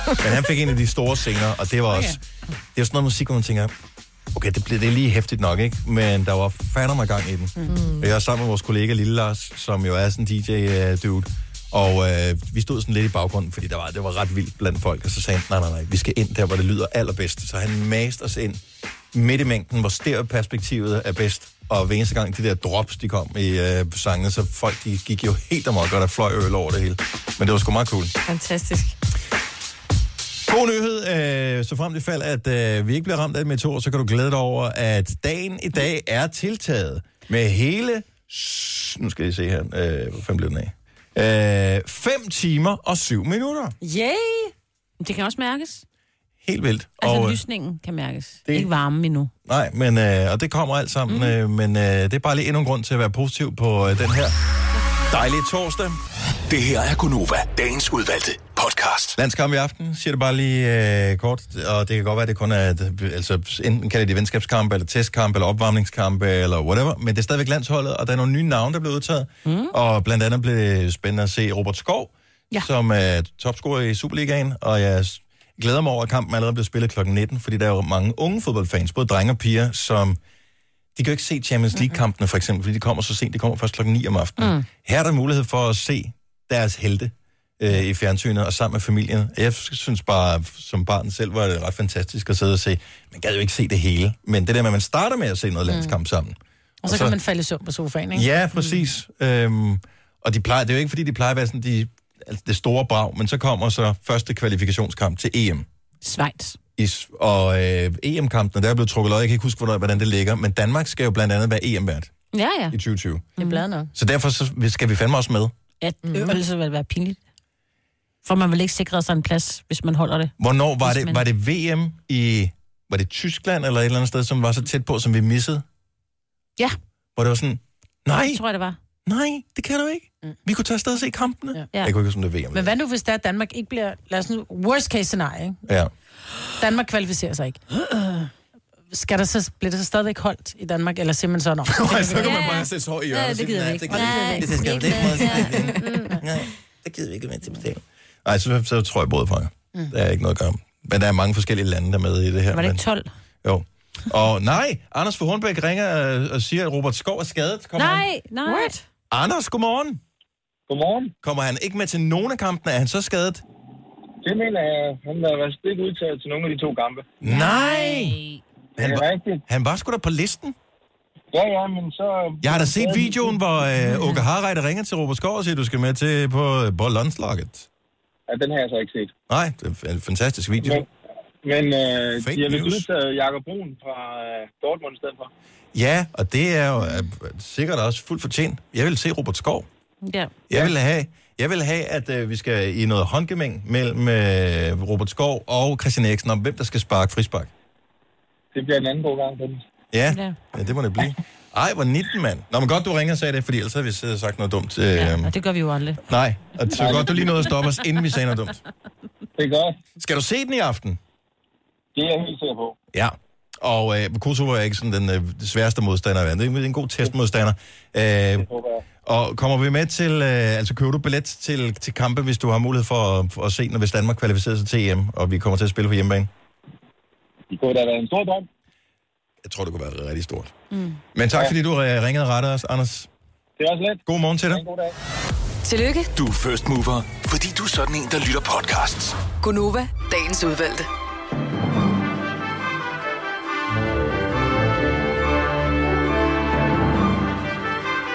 A: men han fik en af de store scener, og det var også... Det er jo sådan noget musik, hvor man tænker, Okay, det blev det er lige hæftigt nok, ikke? Men der var fandme gang i den. Mm. Jeg var sammen med vores kollega Lille Lars, som jo er sådan en DJ-dude. Og øh, vi stod sådan lidt i baggrunden, fordi der var, det var ret vildt blandt folk. Og så sagde han, nej, nej, nej, vi skal ind der, hvor det lyder allerbedst. Så han maste os ind midt i mængden, hvor stereoperspektivet er bedst. Og hver eneste gang de der drops, de kom i øh, sangene, så folk de gik jo helt amok, og der fløj øl over det hele. Men det var sgu meget cool.
B: Fantastisk.
A: God nyhed, øh, så frem til fald, at øh, vi ikke bliver ramt af et meteor, så kan du glæde dig over, at dagen i dag er tiltaget med hele... s- Nu skal jeg se her, øh, hvor fanden blev den af? Øh, 5 timer og 7 minutter.
C: Yay! Men Det kan også mærkes.
A: Helt vildt.
C: Altså,
A: og, øh,
C: lysningen kan mærkes.
A: det-
C: Det... Ikke varmen endnu.
A: nej, men, øh, og det kommer alt sammen, mm. øh, men øh, det er bare lige endnu en grund til at være positiv på øh, den her dejlige torsdag.
G: Det her er Gunova, dagens udvalgte podcast.
A: Landskamp i aften, siger det bare lige øh, kort, og det kan godt være, det kun er, altså enten kalder de venskabskamp, eller testkamp, eller opvarmningskamp, eller whatever, men det er stadigvæk landsholdet, og der er nogle nye navne, der blev udtaget, mm. og blandt andet blev det spændende at se Robert Skov, ja. som er topscorer i Superligaen, og jeg s- glæder mig over, at kampen allerede bliver spillet kl. 19, fordi der er jo mange unge fodboldfans, både drenge og piger, som de kan jo ikke se Champions League-kampene, for eksempel, fordi de kommer så sent, de kommer først klokken 9 om aftenen. Mm. Her er der mulighed for at se deres helte øh, i fjernsynet og sammen med familien. Jeg synes bare, som barn selv, var det ret fantastisk at sidde og se. Man gad jo ikke se det hele, men det der med, at man starter med at se noget landskamp sammen.
D: Og så, kan man falde i søvn på sofaen, ikke?
A: Ja, præcis. Mm. Øhm, og de plejer, det er jo ikke, fordi de plejer at være sådan de, altså det store brag, men så kommer så første kvalifikationskamp til EM.
C: Schweiz.
A: I, s- og øh, EM-kampene, der er blevet trukket løg. Jeg kan ikke huske, hvornår- hvordan det ligger, men Danmark skal jo blandt andet være EM-vært
C: Ja, ja.
A: i 2020.
D: Det er bladet nok.
A: Så derfor så skal vi fandme også med.
C: At øvelse vil være pinligt. For man vil ikke sikre sig en plads, hvis man holder det.
A: Hvornår var
C: Hvis
A: det,
C: man-
A: var det VM i... Var det Tyskland eller et eller andet sted, som var så tæt på, som vi missede?
C: Ja.
A: Hvor det var sådan, nej,
D: Det
C: tror Mm. jeg, det var.
A: nej, det kan du ikke. Vi kunne tage afsted og se kampene.
D: Ja.
A: Jeg kunne ikke huske, om det var VM.
D: Men hvad nu, hvis det er, at Danmark ikke bliver... Lad os nu... Worst case scenario, ikke?
A: Ja.
D: Danmark kvalificerer sig ikke. Skal der så, bliver det så stadigvæk holdt i Danmark, eller siger man så nok?
A: Nej, så kan man bare sætte sig i hjørnet. og sige, "Nej, Det gider vi ikke. Det skal vi ikke. Det skal vi ikke. Nej, det gider vi ikke med til betale. Nej, så, så tror jeg både fra jer. Der er ikke noget at gøre. Men der er mange forskellige lande, der er med i det her.
C: Var det
A: men-
C: ikke 12?
A: Jo. Og nej, Anders for Hornbæk ringer øh, og siger, at Robert Skov er skadet. Kommer han-
C: Nej, nej. What?
A: Anders, godmorgen.
S: Godmorgen.
A: Kommer han ikke med til nogen af kampene? Er han så skadet?
S: Det mener jeg, han har været stik udtaget til nogle af de to kampe.
A: Nej! Han
S: Det er
A: var,
S: rigtigt.
A: han var sgu da på listen.
S: Ja, ja, men så...
A: Jeg har da set videoen, hvor øh, Åke Harreide ringer til Robert Skov og siger, at du skal med til på, på landslaget.
S: Ja, den har jeg så ikke set.
A: Nej, det er en fantastisk video.
S: Men, men øh,
A: Fake
S: de har vist
A: news.
S: udtaget Jakob Brun fra øh, Dortmund i stedet for.
A: Ja, og det er jo øh, sikkert også fuldt fortjent. Jeg vil se Robert Skov.
C: Ja.
A: Jeg vil have, jeg vil have at øh, vi skal i noget håndgemæng mellem øh, Robert Skov og Christian Eriksen om, hvem der skal sparke frispark.
S: Det bliver en anden god gang på den.
A: Ja, ja. ja det må det blive. Ej, hvor 19, mand. Nå, men godt, du ringer og sagde det, fordi ellers havde vi siddet og sagt noget dumt. Øh, ja,
C: Og det gør vi jo aldrig.
A: Nej, og så godt, du lige nåede at stoppe os, inden vi sagde noget dumt.
S: Det er godt.
A: Skal du se den i aften?
S: Det er jeg helt sikker på.
A: Ja. Og øh, Kosovo er ikke sådan den øh, sværeste modstander i verden. Det er en god testmodstander. Øh, og kommer vi med til, øh, altså køber du billet til, til kampe, hvis du har mulighed for at, for at se den, hvis Danmark kvalificerer sig til EM, og vi kommer til at spille på hjemmebane?
S: Det kunne da være en stor drøm.
A: Jeg tror, det kunne være rigtig stort. Men tak, fordi du øh, ringede og rettede os, Anders.
S: Det er også let.
A: God morgen til dig.
F: Tillykke,
G: Du er first mover, fordi du er sådan en, der lytter podcasts.
F: Gunova, dagens udvalgte.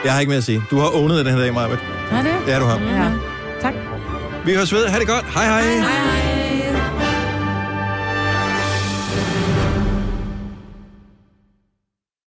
A: Jeg har ikke mere at sige. Du har ånet den her dag, Maja.
D: Nej, det
A: Ja, du har.
D: Ja.
A: Vi høres ved. Ha' det godt. Hej hej. hej, hej.